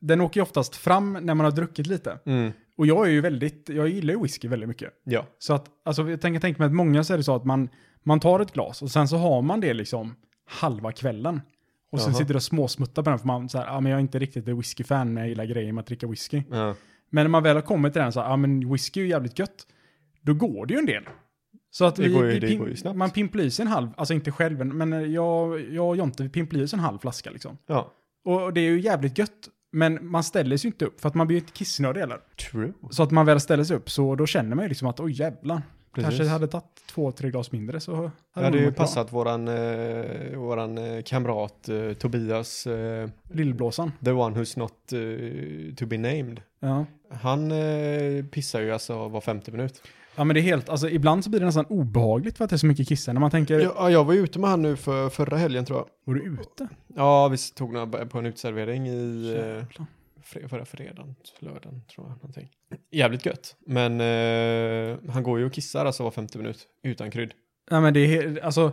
Speaker 1: den åker ju oftast fram när man har druckit lite.
Speaker 3: Mm.
Speaker 1: Och jag är ju väldigt, jag gillar ju whisky väldigt mycket.
Speaker 3: Ja,
Speaker 1: Så att, alltså jag tänker tänka mig att många så är det så att man, man tar ett glas och sen så har man det liksom halva kvällen. Och sen
Speaker 3: Jaha.
Speaker 1: sitter du och småsmuttar på den för man så här, ah, men jag är inte riktigt en whiskyfan men jag gillar grejer med att dricka whisky.
Speaker 3: ja,
Speaker 1: Men när man väl har kommit till den så här, ah, men whisky är ju jävligt gött. Då går det ju en del. Så att
Speaker 3: Det
Speaker 1: vi,
Speaker 3: går ju-
Speaker 1: vi
Speaker 3: det
Speaker 1: pim-
Speaker 3: går ju snabbt.
Speaker 1: man pimplar i sig en halv, alltså inte själv, men jag, jag och Jonte vi pimplar i oss en halv flaska liksom.
Speaker 3: ja.
Speaker 1: Och, och det är ju jävligt gött. Men man ställer sig ju inte upp för att man blir ju inte kissnödig heller.
Speaker 3: True.
Speaker 1: Så att man väl ställer sig upp så då känner man ju liksom att oj jävlar.
Speaker 3: Precis.
Speaker 1: Kanske hade tagit två, tre glas mindre så hade
Speaker 3: det hade
Speaker 1: nog
Speaker 3: ju
Speaker 1: mått bra.
Speaker 3: passat våran, eh, våran eh, kamrat eh, Tobias, eh,
Speaker 1: Lillblåsan.
Speaker 3: the one who's not eh, to be named.
Speaker 1: Ja.
Speaker 3: Han eh, pissar ju alltså var femte minut.
Speaker 1: ja, men det är helt, alltså ibland så blir det nästan obehagligt för att det är så mycket kissar. När man tänker,
Speaker 3: Ja, jag var ju ute med han nu för, förra helgen tror jag.
Speaker 1: var du ute?
Speaker 3: Ja, vi tog några på en uteservering i eh,
Speaker 1: Jävlar.
Speaker 3: fre- förra fredagen, lördagen tror jag. Någonting. Jävligt gött. Men eh, han går ju och kissar alltså var femte minut utan krydd.
Speaker 1: Nej men det är, he- alltså,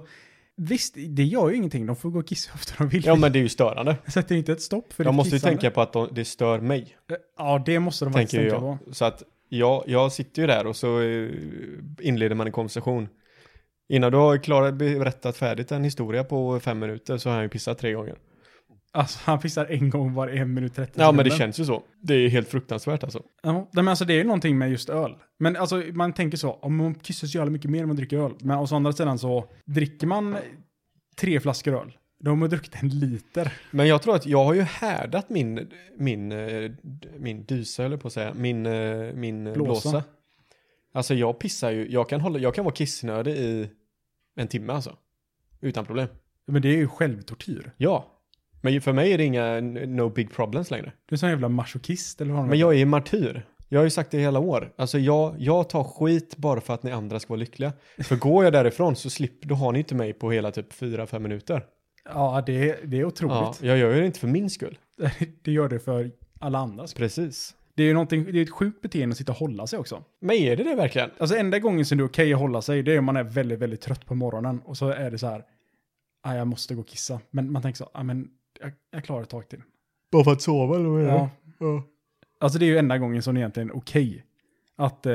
Speaker 1: visst, det gör ju ingenting. De får gå och kissa efter de vill.
Speaker 3: Ja, men det är ju störande.
Speaker 1: Sätter inte ett stopp för
Speaker 3: Jag
Speaker 1: ditt
Speaker 3: måste ju
Speaker 1: kissande.
Speaker 3: tänka på att de, det stör mig.
Speaker 1: Ja, det måste de faktiskt
Speaker 3: tänker
Speaker 1: tänka
Speaker 3: jag.
Speaker 1: på.
Speaker 3: Så att jag, jag sitter ju där och så eh, inleder man en konversation. Innan du har klarat, berättat färdigt en historia på fem minuter så har han ju pissat tre gånger.
Speaker 1: Alltså han pissar en gång var en minut 30
Speaker 3: Ja men det
Speaker 1: sekunder.
Speaker 3: känns ju så. Det är helt fruktansvärt alltså.
Speaker 1: Ja, nej, men alltså det är ju någonting med just öl. Men alltså man tänker så, om man kissar så jävla mycket mer än man dricker öl. Men alltså, å andra sidan så, dricker man tre flaskor öl, då har man druckit en liter.
Speaker 3: Men jag tror att jag har ju härdat min, min, eh, d- min dysa eller på att säga, min, eh, min blåsa.
Speaker 1: Blåsa.
Speaker 3: blåsa. Alltså jag pissar ju, jag kan, hålla, jag kan vara kissnödig i en timme alltså. Utan problem.
Speaker 1: Men det är ju självtortyr.
Speaker 3: Ja. Men ju- för mig är det inga n- no big problems längre.
Speaker 1: Du är sån jävla masochist eller vad de
Speaker 3: Men
Speaker 1: heter.
Speaker 3: jag är martyr. Jag har ju sagt det hela år. Alltså jag, jag tar skit bara för att ni andra ska vara lyckliga. För går jag därifrån så slipper, då har ni inte mig på hela typ 4-5 minuter.
Speaker 1: Ja, det, är- det är
Speaker 3: Ja,
Speaker 1: otroligt.
Speaker 3: jag gör ju det inte för min skull.
Speaker 1: det gör det för alla andra.
Speaker 3: Precis.
Speaker 1: Det är ju någonting, det är ett sjukt beteende att sitta och hålla sig också.
Speaker 3: Men är det det verkligen?
Speaker 1: Alltså enda gången som det är okej att hålla sig, det är om man är väldigt, väldigt trött på morgonen. Och så är det så här, ah, jag måste gå och kissa. Men man tänker så, ah, men jag, jag klarar ett tag till.
Speaker 3: Bara för att sova eller vad
Speaker 1: Ja.
Speaker 3: Ja.
Speaker 1: Alltså det är ju enda gången som det egentligen är okej att, eh,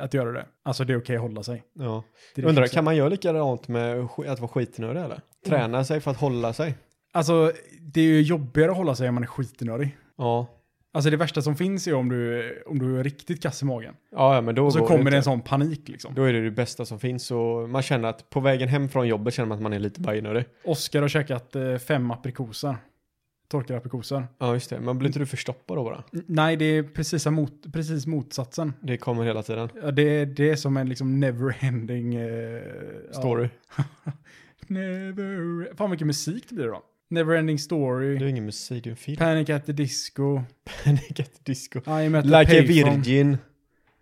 Speaker 1: att göra det. Alltså det är okej att hålla sig.
Speaker 3: ja.
Speaker 1: Det är det
Speaker 3: Undrar,
Speaker 1: fixa.
Speaker 3: kan man göra likadant med sk- att vara skitnödig eller? Träna sig för att hålla sig?
Speaker 1: Alltså det är ju jobbigare att hålla sig om man är skitnödig.
Speaker 3: Ja.
Speaker 1: Alltså det värsta som finns är om du, om du är riktigt kass i magen.
Speaker 3: Ja, ja men då
Speaker 1: Och så
Speaker 3: går
Speaker 1: kommer det en
Speaker 3: inte.
Speaker 1: sån panik liksom.
Speaker 3: Då är det det bästa som finns och man känner att på vägen hem från jobbet känner man att man är lite bajnödig.
Speaker 1: Oskar har käkat eh, fem aprikoser. Torkade aprikoser.
Speaker 3: Ja, just det. Men blir inte du förstoppad då bara?
Speaker 1: N- Nej, det är precis, mot, precis motsatsen.
Speaker 3: Det kommer hela tiden.
Speaker 1: Ja, det, det är som en liksom never-ending... Eh,
Speaker 3: Story.
Speaker 1: Ja, never... Fan vilken musik det blir då. Never-ending
Speaker 3: Det
Speaker 1: story,
Speaker 3: är ingen musik, det är en film.
Speaker 1: Panic at the Disco,
Speaker 3: Panic at the disco.
Speaker 1: I'm at
Speaker 3: Like
Speaker 1: the
Speaker 3: a
Speaker 1: payphone.
Speaker 3: virgin.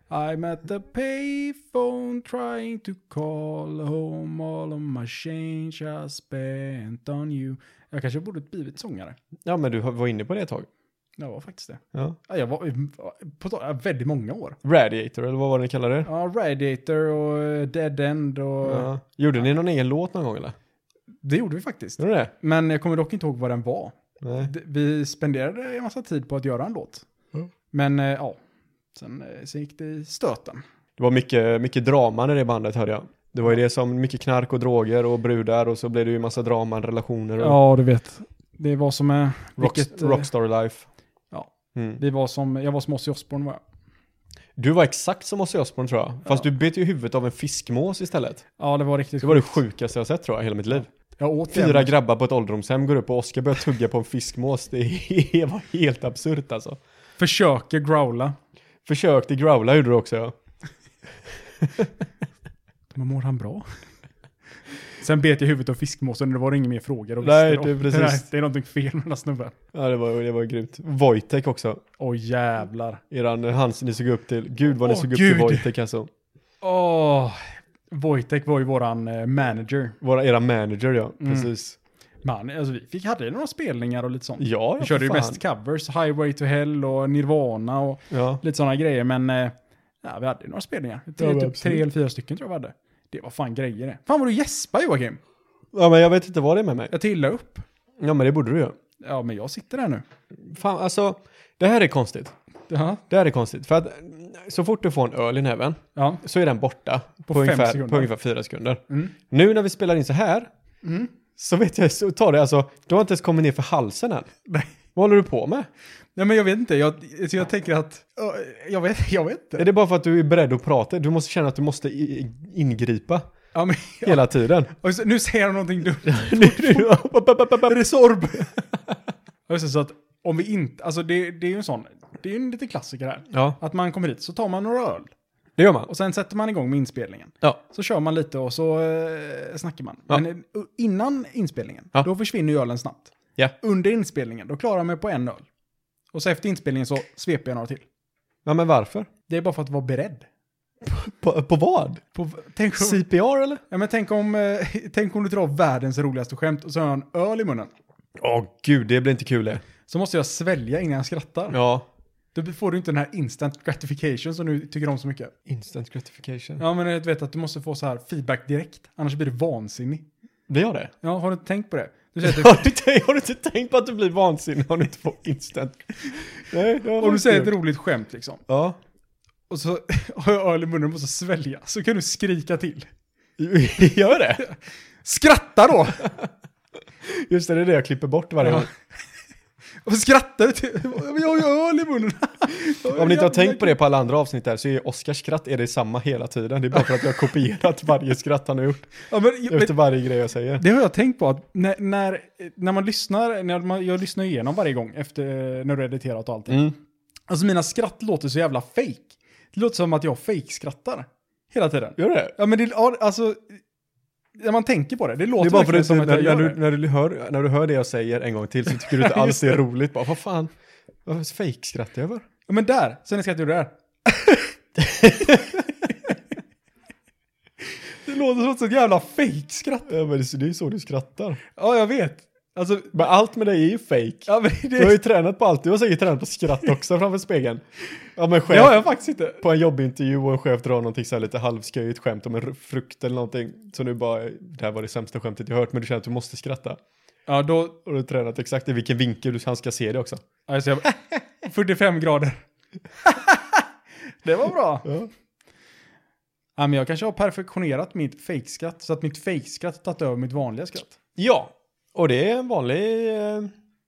Speaker 1: I'm at the payphone trying to call home all of my change I spent on you. Jag kanske borde blivit sångare.
Speaker 3: Ja, men du har- var inne på det ett tag.
Speaker 1: Jag var faktiskt det.
Speaker 3: Ja.
Speaker 1: Ja, Jag var på tal- väldigt många år.
Speaker 3: Radiator, eller vad var det ni kallade det?
Speaker 1: Ja, Radiator och eh, Dead End och...
Speaker 3: Ja. Gjorde ni någon egen låt någon gång eller?
Speaker 1: Det gjorde vi faktiskt.
Speaker 3: Gjorde ni det?
Speaker 1: Men jag kommer dock inte ihåg vad den var.
Speaker 3: Nej.
Speaker 1: D- Vi spenderade en massa tid på att göra en låt.
Speaker 3: Mm.
Speaker 1: Men eh, ja, sen, eh, sen gick det i stöten.
Speaker 3: Det var mycket, mycket draman i det bandet hörde jag. Det var ju det som, mycket knark och droger och brudar och så blev det ju massa draman, relationer och
Speaker 1: Ja, du vet. Det var som... eh,
Speaker 3: rock,
Speaker 1: vilket, eh,
Speaker 3: rockstar life.
Speaker 1: ja.
Speaker 3: Mm.
Speaker 1: Vi var som... Jag var som Ozzy Osbourne var jag.
Speaker 3: Du var exakt som Ozzy Osbourne tror jag. Fast du bet ju huvudet av en fiskmås istället.
Speaker 1: Ja, det var riktigt
Speaker 3: Det var det sjukaste jag sett tror jag, hela mitt liv.
Speaker 1: Jag åt
Speaker 3: Fyra
Speaker 1: den.
Speaker 3: grabbar på ett ålderdomshem går upp och Oskar börjar tugga på en fiskmås. Det var helt absurt alltså.
Speaker 1: Försöker growla.
Speaker 3: Försökte growla gjorde du också ja.
Speaker 1: Men mår han bra? Sen bet jag huvudet av fiskmåsen och det var inga mer frågor. Och
Speaker 3: Nej,
Speaker 1: visste
Speaker 3: det är
Speaker 1: om-
Speaker 3: precis.
Speaker 1: Nej, det är någonting fel med den här snubben.
Speaker 3: Ja det var, det var grymt. Wojtek också.
Speaker 1: Åh jävlar.
Speaker 3: Eran, han som ni såg upp till. Gud vad ni
Speaker 1: Åh,
Speaker 3: såg upp
Speaker 1: gud.
Speaker 3: till Wojtek alltså.
Speaker 1: Åh, Wojtek var ju våran eh, manager.
Speaker 3: Våra, era manager ja,
Speaker 1: Mm.
Speaker 3: precis.
Speaker 1: Man, alltså vi fick, hade några spelningar och lite sånt.
Speaker 3: Ja, ja
Speaker 1: vi körde ju
Speaker 3: för fan.
Speaker 1: mest covers, Highway to Hell och Nirvana och
Speaker 3: Ja.
Speaker 1: lite sådana grejer. Men eh, ja, vi hade ju några spelningar. Tre,
Speaker 3: men
Speaker 1: typ,
Speaker 3: absolut.
Speaker 1: tre eller fyra stycken tror jag vi hade. Det var fan grejer det. Fan vad du gäspar Joakim.
Speaker 3: ja men jag vet inte vad det är med mig.
Speaker 1: Jag tillade upp.
Speaker 3: Ja men det borde du ju.
Speaker 1: Ja, men jag sitter här nu.
Speaker 3: Fan alltså, det här är konstigt.
Speaker 1: Ja.
Speaker 3: Det här är konstigt. För att mm, så fort du får en öl i näven
Speaker 1: ja.
Speaker 3: så är den borta på,
Speaker 1: fem
Speaker 3: ungefär,
Speaker 1: sekunder.
Speaker 3: på ungefär fyra sekunder.
Speaker 1: Mm.
Speaker 3: Nu när vi spelar in så här så vet jag, så tar det alltså, du har inte ens kommit ner för halsen än.
Speaker 1: Nej.
Speaker 3: Vad håller du på med?
Speaker 1: Nej, men jag vet inte. Jag, så jag tänker att... ö, Jag vet, jag vet
Speaker 3: Är
Speaker 1: inte.
Speaker 3: det bara för att du är beredd att prata? Du måste känna att du måste i- i- ingripa
Speaker 1: Ja, men,
Speaker 3: hela tiden.
Speaker 1: och så, nu säger jag någonting dumt.
Speaker 3: Nu är du- upp, upp, upp, upp, upp.
Speaker 1: Resorb! Ja, just det, så att om vi inte, alltså det, det är ju en sån, det är ju en liten klassiker här.
Speaker 3: Ja,
Speaker 1: Att man kommer hit så tar man några öl.
Speaker 3: Det gör man.
Speaker 1: Och sen sätter man igång med inspelningen.
Speaker 3: Ja.
Speaker 1: Så kör man lite och så eh, snackar man.
Speaker 3: Ja.
Speaker 1: Men eh, innan inspelningen,
Speaker 3: Ja.
Speaker 1: då försvinner ju ölen snabbt.
Speaker 3: Ja.
Speaker 1: Under inspelningen, då klarar jag mig på en öl. Och så efter inspelningen så sveper jag några till.
Speaker 3: Ja, men varför?
Speaker 1: Det är bara för att vara beredd.
Speaker 3: På, på vad?
Speaker 1: På, tänk, om,
Speaker 3: CPR eller?
Speaker 1: ja, men tänk, om, eh, tänk om du drar världens roligaste skämt och så har jag en öl i munnen.
Speaker 3: Åh gud, det blir inte kul det.
Speaker 1: Så måste jag svälja innan jag skrattar.
Speaker 3: Ja.
Speaker 1: Då får du inte den här instant gratification som du tycker om så mycket.
Speaker 3: Instant gratification.
Speaker 1: Ja men du vet att du måste få så här feedback direkt, annars blir du vansinnig.
Speaker 3: Det gör det.
Speaker 1: Ja, har du inte tänkt på det? Du säger att
Speaker 3: Har du, tänkt- har du inte tänkt på att du blir vansinnig om du inte får instant... Nej, det har
Speaker 1: om du säger ett
Speaker 3: gjort.
Speaker 1: roligt skämt liksom,
Speaker 3: Ja.
Speaker 1: och så har jag öl i munnen och måste svälja, så kan du skrika till.
Speaker 3: Gör det?
Speaker 1: Skratta då!
Speaker 3: Just det, det är det jag klipper bort varje gång.
Speaker 1: Ja. Och skrattar du till... Men Jag har ju öl i munnen!
Speaker 3: Om ni inte har tänkt på det på alla andra avsnitt där så är Oskars skratt är det samma hela tiden. Det är bara för att jag har kopierat varje skratt han har gjort
Speaker 1: Ja, men, men,
Speaker 3: efter varje grej jag säger.
Speaker 1: det har jag tänkt på, att när, när, när man lyssnar, när man, jag lyssnar igenom varje gång efter, när du editerat och allting.
Speaker 3: Mm.
Speaker 1: Alltså mina skratt låter så jävla fake. Det låter som att jag fake-skrattar hela tiden.
Speaker 3: Gör det?
Speaker 1: Ja men det, ja, alltså, när man tänker på det, det
Speaker 3: Det
Speaker 1: låter
Speaker 3: är bara för
Speaker 1: verkligen som
Speaker 3: att du,
Speaker 1: att jag gör
Speaker 3: när, när, du,
Speaker 1: det.
Speaker 3: när, du hör, när du hör det jag säger en gång till så tycker du inte alls det är roligt. Bara, vad fan, vad fejkskrattar jag över?
Speaker 1: Ja, men där, sen skrattar du där. det låter som ett jävla fake-skratt.
Speaker 3: Ja, men det, det är ju så du skrattar.
Speaker 1: Ja, jag vet. Alltså,
Speaker 3: Men allt med dig är ju fejk.
Speaker 1: ja, men
Speaker 3: Du har
Speaker 1: det,
Speaker 3: ju tränat på allt, du har säkert tränat på skratt också framför spegeln. Ja men
Speaker 1: det
Speaker 3: chef,
Speaker 1: har jag faktiskt inte.
Speaker 3: på en jobbintervju och en chef drar någonting så här lite halvsköjigt skämt om en r- frukt eller någonting. Så nu bara, det här var det sämsta skämtet jag hört men du känner att du måste skratta.
Speaker 1: Ja, då...
Speaker 3: Och du har tränat exakt i vilken vinkel du, han ska se det också.
Speaker 1: Alltså, jag, 45 grader. det var bra.
Speaker 3: Ja.
Speaker 1: Ja, men jag kanske har perfektionerat mitt fake-skratt så att mitt fake-skratt har tagit över mitt vanliga skratt.
Speaker 3: ja, och det är en vanlig eh,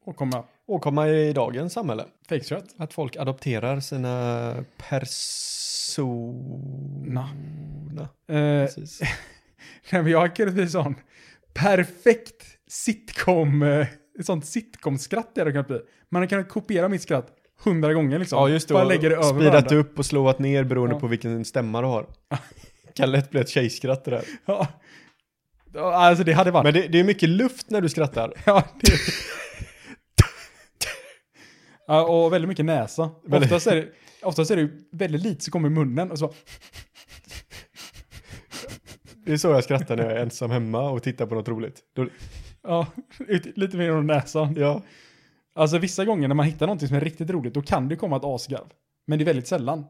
Speaker 1: Och komma
Speaker 3: åkomma i dagens samhälle.
Speaker 1: fake-skratt.
Speaker 3: Att folk adopterar sina persona.
Speaker 1: Nå. Eh,
Speaker 3: Precis.
Speaker 1: Nej, men jag hackade till sån perfekt sitcom, eh, ett sånt sitcom-skratt det hade kunnat bli. Man hade kunnat kopiera mitt skratt hundra gånger liksom.
Speaker 3: Ja just det,
Speaker 1: Bara
Speaker 3: och
Speaker 1: lägger det över
Speaker 3: speedat
Speaker 1: varandra.
Speaker 3: upp och slåat ner beroende
Speaker 1: Ja.
Speaker 3: på vilken stämma du har. kan lätt bli ett tjejskratt det där.
Speaker 1: Ja. Ja, Alltså det hade varit...
Speaker 3: Men det, det är mycket luft när du skrattar.
Speaker 1: Ja, det... ja, och väldigt mycket näsa.
Speaker 3: Väldigt-
Speaker 1: Oftast är, det, oftast är det ju väldigt lite som kommer i munnen och så
Speaker 3: Det är så jag skrattar när jag är ensam hemma och tittar på något roligt. Då,
Speaker 1: Ja, ut- lite mer under näsan.
Speaker 3: ja,
Speaker 1: Alltså vissa gånger när man hittar någonting som är riktigt roligt då kan det komma ett asgarv. Men det är väldigt sällan.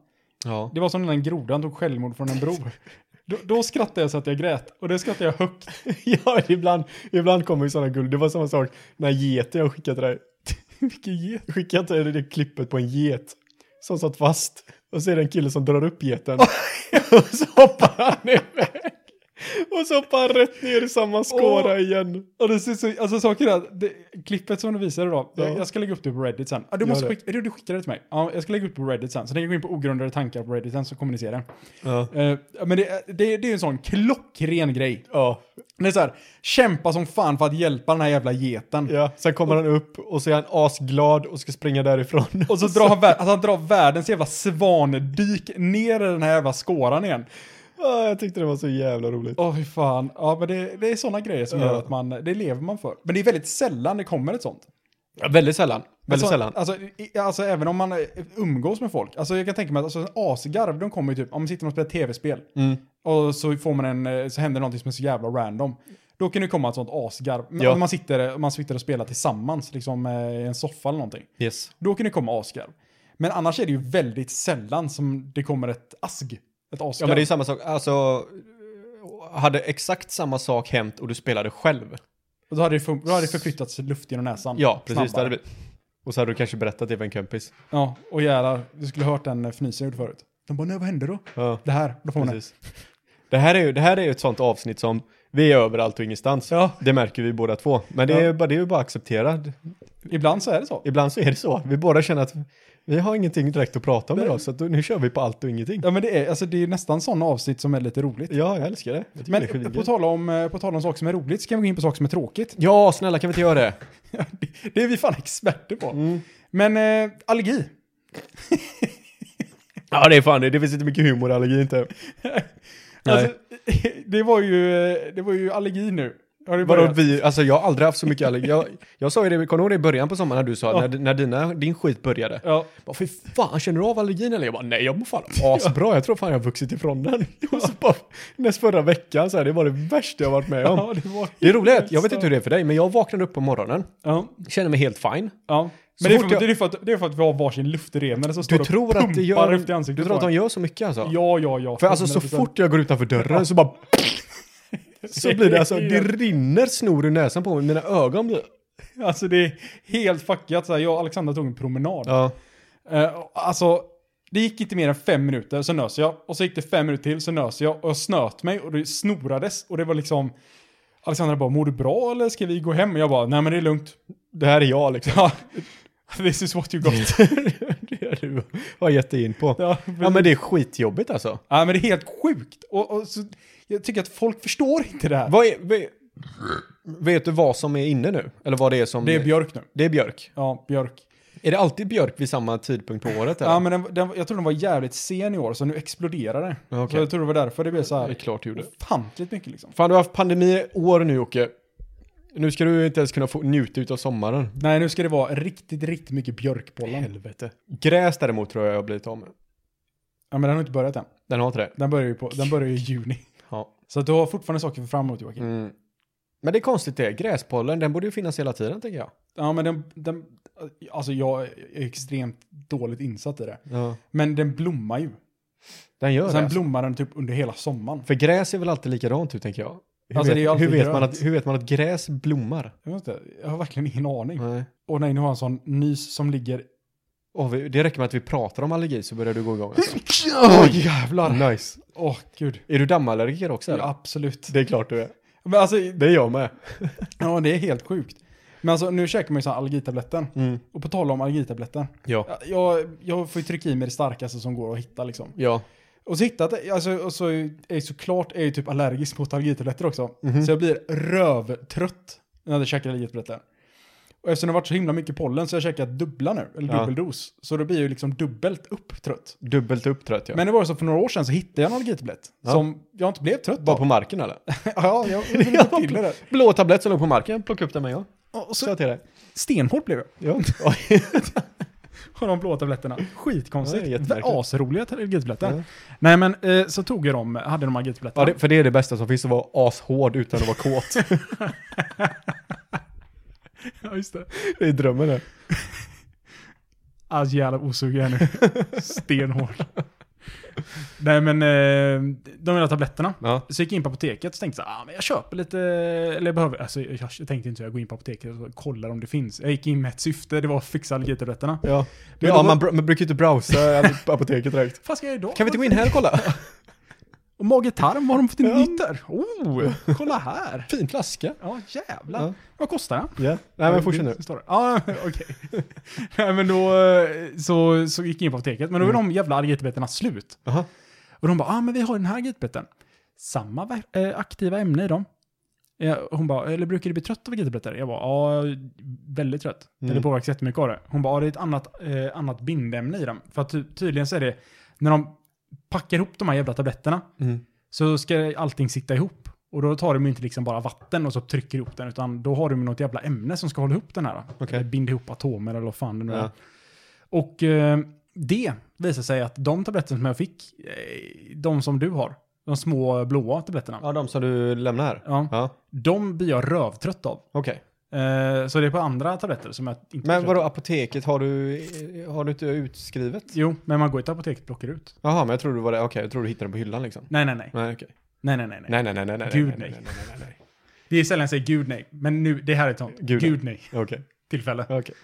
Speaker 3: ja.
Speaker 1: Det var som när den grodan tog självmord från en bro. Då, då skrattade jag så att jag grät. Och det skrattade jag högt.
Speaker 3: ja ibland, ibland kommer ju sådana guld. Det var samma sak när geten jag skickade till dig.
Speaker 1: Vilken get.
Speaker 3: Jag skickade till dig det klippet på en get som satt fast. Och så är det en kille som drar upp geten. och så hoppar han iväg. Och så hoppar han rätt ner i samma skåra igen.
Speaker 1: Och det ser så, alltså saker är att det, klippet som du visade då,
Speaker 3: Ja.
Speaker 1: jag, jag ska lägga upp det på Reddit sen. Ah, du,
Speaker 3: Gör
Speaker 1: måste
Speaker 3: det.
Speaker 1: skicka, du, du skickade det till mig. Ja, jag ska lägga upp det på Reddit sen. Så ni kan gå in på ogrundade tankar på Reddit sen så kommer ni se det.
Speaker 3: Ja.
Speaker 1: Eh, men det, det, det är en sån klockren grej.
Speaker 3: Ja,
Speaker 1: Det är så här, kämpa som fan för att hjälpa den här jävla geten.
Speaker 3: ja. Sen kommer han upp och så är han asglad och ska springa därifrån.
Speaker 1: Och så drar han, vär- alltså han drar världens jävla svandyk ner i den här jävla skåran igen.
Speaker 3: Ja, Ah, jag tyckte det var så jävla roligt.
Speaker 1: Åh fy fan. Ja men det, det är sådana grejer som
Speaker 3: Ja.
Speaker 1: gör att man, det lever man för. Men det är väldigt sällan det kommer ett sånt.
Speaker 3: Ja, väldigt sällan. Väldigt
Speaker 1: alltså,
Speaker 3: sällan.
Speaker 1: Alltså, i- alltså även om man eh, umgås med folk. Alltså jag kan tänka mig att alltså, en asgarv, de kommer ju typ, om man sitter och spelar tv-spel.
Speaker 3: Mm.
Speaker 1: Och så får man en, eh, så händer någonting som är så jävla random. Då kan det komma ett sånt asgarv. Men
Speaker 3: Ja.
Speaker 1: Om man sitter, eh, om man sitter och spelar tillsammans, liksom eh, i en soffa eller någonting.
Speaker 3: Yes.
Speaker 1: Då kan det komma asgarv. Men annars är det ju väldigt sällan som det kommer ett asg. Ett asgarv.
Speaker 3: Ja, men det är samma sak. Alltså, hade exakt samma sak hänt och du spelade själv?
Speaker 1: Och då hade det, fun- då hade det förflyttats luft genom näsan.
Speaker 3: Ja, precis. Det
Speaker 1: Snabbare.
Speaker 3: hade blivit. Och så hade du kanske berättat det för en kompis.
Speaker 1: Ja, och jävlar, du skulle hört den eh, fnisen jag gjorde förut. De bara, nej vad hände då?
Speaker 3: Ja,
Speaker 1: Det här, då får man det.
Speaker 3: precis. Det här, är ju, det här är ju ett sånt avsnitt som vi är överallt och ingenstans.
Speaker 1: Ja.
Speaker 3: Det märker vi båda två. Men det är,
Speaker 1: Ja.
Speaker 3: bara, det är ju bara accepterat.
Speaker 1: Ibland så är det så.
Speaker 3: Ibland så är det så. Vi båda känner att vi har ingenting direkt att prata om
Speaker 1: Nej.
Speaker 3: idag. Så att då, nu kör vi på allt och ingenting.
Speaker 1: Ja men det är, alltså, det är ju nästan sådana avsnitt som är lite roligt.
Speaker 3: Ja, jag älskar det. Jag tycker det är
Speaker 1: Men
Speaker 3: skitgött.
Speaker 1: på tal, om, eh, på tal om saker som är roligt så kan vi gå in på saker som är tråkigt.
Speaker 3: Ja, snälla kan vi inte göra det?
Speaker 1: Det-
Speaker 3: Mm.
Speaker 1: det är vi fan experter på. Men eh, allergi.
Speaker 3: Ja, det är fan det. Det finns inte mycket humor i allergi inte.
Speaker 1: Alltså, det var ju, eh, det var ju allergi nu. Har det
Speaker 3: Vadå,
Speaker 1: börjat?
Speaker 3: vi, alltså jag har aldrig haft så mycket allergi. Jag, jag sa ju det, kommer du ihåg det i början på sommaren när du sa, när, när dina, din skit började?
Speaker 1: Ja.
Speaker 3: Bara, fy fan, känner du av allergin eller? Jag bara, nej jag mår fan asbra, jag tror fan jag har vuxit ifrån den. Och så bara, näst förra veckan så här, det var det värsta jag varit med om.
Speaker 1: ja, det var
Speaker 3: Det roliga är att, jag vet inte hur det är för dig, men jag vaknade upp på morgonen,
Speaker 1: Ja,
Speaker 3: känner mig helt fine.
Speaker 1: ja.
Speaker 3: Så
Speaker 1: Men det är,
Speaker 3: fort
Speaker 1: för,
Speaker 3: jag-
Speaker 1: det, är för att, det är för att vi har varsin luftrenare som står
Speaker 3: Du
Speaker 1: och
Speaker 3: tror att det
Speaker 1: pumpar
Speaker 3: gör,
Speaker 1: luft i
Speaker 3: du
Speaker 1: ansiktet
Speaker 3: tror att
Speaker 1: på
Speaker 3: de gör så mycket alltså?
Speaker 1: en. Ja, ja, ja.
Speaker 3: För alltså så
Speaker 1: 100%.
Speaker 3: fort jag går utanför dörren så bara... Så blir det alltså,
Speaker 1: Det är
Speaker 3: det
Speaker 1: helt-
Speaker 3: rinner snor ur näsan på mig, mina ögon blir...
Speaker 1: Alltså det är helt fuckat. Så här, jag och Alexandra tog en promenad.
Speaker 3: Ja.
Speaker 1: Eh, alltså, det gick inte mer än fem minuter, så nös jag. Och så gick det fem minuter till, så nös jag. Och jag snöt mig och det snorades. Och det var liksom... Alexandra bara, mår du bra eller ska vi gå hem? Och jag bara, nej men det är lugnt.
Speaker 3: Det här är jag liksom.
Speaker 1: Ja, This is what you got.
Speaker 3: det är du har gett dig in på.
Speaker 1: Ja,
Speaker 3: Ja men det är skitjobbigt alltså.
Speaker 1: Ja, men det är helt sjukt. Och, och så, jag tycker att folk förstår inte det här.
Speaker 3: Vad är, ve- vet du vad som är inne nu? Eller vad det är som...
Speaker 1: Det är björk nu.
Speaker 3: Det är björk.
Speaker 1: Ja, björk.
Speaker 3: Är det alltid björk vid samma tidpunkt på året? Eller?
Speaker 1: Ja, men den, den, jag tror den var jävligt sen i år, så nu exploderar det.
Speaker 3: Ja, okej.
Speaker 1: Så jag tror det var därför det blev så
Speaker 3: Det är
Speaker 1: här
Speaker 3: klart du gjorde.
Speaker 1: ofantligt mycket liksom.
Speaker 3: Fan du har haft pandemi i år nu Jocke. Nu ska du inte ens kunna få njuta av sommaren.
Speaker 1: Nej, nu ska det vara riktigt, riktigt mycket björkpollen.
Speaker 3: Helvete. Gräs däremot tror jag jag har blivit av med.
Speaker 1: Ja, men den har inte börjat än.
Speaker 3: Den har inte det.
Speaker 1: Den börjar ju, på, den börjar ju i juni.
Speaker 3: Ja.
Speaker 1: Så att du har fortfarande saker för framåt Joakim.
Speaker 3: Mm. Men det är konstigt det. Gräspollen, den borde ju finnas hela tiden tänker jag.
Speaker 1: Ja, men den, den... Alltså jag är extremt dåligt insatt i det.
Speaker 3: Ja.
Speaker 1: Men den blommar ju.
Speaker 3: Den gör det.
Speaker 1: Sen
Speaker 3: alltså.
Speaker 1: blommar den typ under hela sommaren.
Speaker 3: För gräs är väl alltid likadant ut tänker jag. Hur,
Speaker 1: Alltså, det är ju
Speaker 3: vet,
Speaker 1: alltid
Speaker 3: hur, vet man
Speaker 1: grönt.
Speaker 3: att, hur vet man att gräs blommar?
Speaker 1: Jag, vet inte, jag har verkligen ingen aning.
Speaker 3: Nej.
Speaker 1: Och nej, nu har jag en sån nys som ligger...
Speaker 3: Och vi, det räcker med att vi pratar om allergi så börjar du gå igång. Alltså. Oj jävlar! Nice.
Speaker 1: Åh, gud.
Speaker 3: Är du dammallergiker också? Eller?
Speaker 1: Ja, absolut.
Speaker 3: Det är klart du är.
Speaker 1: Men alltså,
Speaker 3: Det är jag med.
Speaker 1: ja, det är helt sjukt. Men alltså, nu käkar man ju sån här allergitabletten.
Speaker 3: Mm.
Speaker 1: Och på tal om allergitabletten.
Speaker 3: Ja.
Speaker 1: Jag, jag får ju trycka i mig det starkaste som går att hitta liksom.
Speaker 3: Ja.
Speaker 1: Och så hittade, alltså, och så är jag såklart är jag ju typ allergisk mot allergitabletter också.
Speaker 3: Mhm.
Speaker 1: Så jag blir rövtrött när jag käkar allergitabletter. Och eftersom det har varit så himla mycket pollen så har jag käkat dubbla nu, eller
Speaker 3: Ja.
Speaker 1: dubbeldos. Så då blir jag ju liksom dubbelt upp trött.
Speaker 3: Dubbelt upp trött ja.
Speaker 1: Men det var ju så för några år sedan så hittade jag en allergitablett
Speaker 3: Ja.
Speaker 1: som jag inte blev trött
Speaker 3: Bara
Speaker 1: av.
Speaker 3: på marken eller?
Speaker 1: ja, jag fick till det där.
Speaker 3: Blå tablett som låg på marken, plocka upp den med jag.
Speaker 1: Och
Speaker 3: Sa
Speaker 1: så
Speaker 3: jag till dig.
Speaker 1: stenhård blev jag
Speaker 3: Ja.
Speaker 1: av de blå tabletterna. Skitkonstigt.
Speaker 3: Ja, det är jättemärkligt.
Speaker 1: Asroliga allergitabletter.
Speaker 3: Ja.
Speaker 1: Nej men eh, så tog jag dem, hade de allergitabletterna.
Speaker 3: ja, det, för det är det bästa som finns, att vara ashård utan att vara kåt.
Speaker 1: ja, just det.
Speaker 3: det är drömmen det.
Speaker 1: Alltså jävla osugen jag är nu. Stenhård. Nej men eh, de där tabletterna.
Speaker 3: Ja.
Speaker 1: Så gick jag in på apoteket och tänkte så här, ah, men jag köper lite, eller jag behöver, alltså jag, jag tänkte inte så, jag går in på apoteket och kollar om det finns. Jag gick in med ett syfte, det var att fixa allergitabletterna.
Speaker 3: Ja,
Speaker 1: Men
Speaker 3: ja
Speaker 1: då-
Speaker 3: man, br- man brukar ju inte browsa på apoteket direkt.
Speaker 1: Vad ska jag göra idag?
Speaker 3: Kan vi inte gå in här och kolla?
Speaker 1: Och mage-tarm, vad har de för
Speaker 3: Ja.
Speaker 1: nytt där? Oh, kolla här!
Speaker 3: Fin flaska.
Speaker 1: Ja, jävlar.
Speaker 3: Ja.
Speaker 1: Vad kostar den?
Speaker 3: Ja. Nej men fortsätt nu.
Speaker 1: Det står det. Ja, okej. Nej, men då eh, så, så gick jag in på apoteket, men då var
Speaker 3: Mm.
Speaker 1: de jävla allergitabletterna slut.
Speaker 3: Aha.
Speaker 1: Och de bara, ah, men vi har den här gitbetten. Samma ver- eh, aktiva ämne i dem. Eh, och hon bara, eller brukar du bli trött av gitblätter? Jag bara, ja, väldigt trött.
Speaker 3: Mm.
Speaker 1: Eller påverkas jättemycket av det. Hon bara, ah, det är ett annat, eh, annat bindämne i dem. För att ty- tydligen så är det, när de packar ihop de här jävla tabletterna
Speaker 3: Mm.
Speaker 1: så ska allting sitta ihop. Och då tar de ju inte liksom bara vatten och så trycker ihop den, utan då har de något jävla ämne som ska hålla ihop den här.
Speaker 3: Okej.
Speaker 1: Eller binda ihop atomer eller vad fan det nu är.
Speaker 3: Ja.
Speaker 1: Och eh, det visar sig att de tabletterna som jag fick, eh, de som du har, de små blåa tabletterna, ja.
Speaker 3: ja, de som du lämnar här. Ja,
Speaker 1: de blir jag rövtrött av.
Speaker 3: okej.
Speaker 1: Eh, så det är på andra tabletter som jag inte har
Speaker 3: Men
Speaker 1: köpt.
Speaker 3: vadå, apoteket, har du, har du inte utskrivet?
Speaker 1: Jo, men man går till apoteket och plockar ut.
Speaker 3: Jaha, men jag tror du var det, okej, jag tror du hittade den på hyllan liksom.
Speaker 1: Nej, nej, nej.
Speaker 3: Nej, okej.
Speaker 1: Nej, nej, nej. nej.
Speaker 3: Nej, nej, nej, nej, nej.
Speaker 1: Gud,
Speaker 3: nej.
Speaker 1: nej.
Speaker 3: nej, nej, nej,
Speaker 1: Det är sällan jag säger gud nej, men nu, det här är ett sånt
Speaker 3: Gud,
Speaker 1: gud,
Speaker 3: nej.
Speaker 1: nej
Speaker 3: nej. Okej,
Speaker 1: tillfälle.
Speaker 3: okej.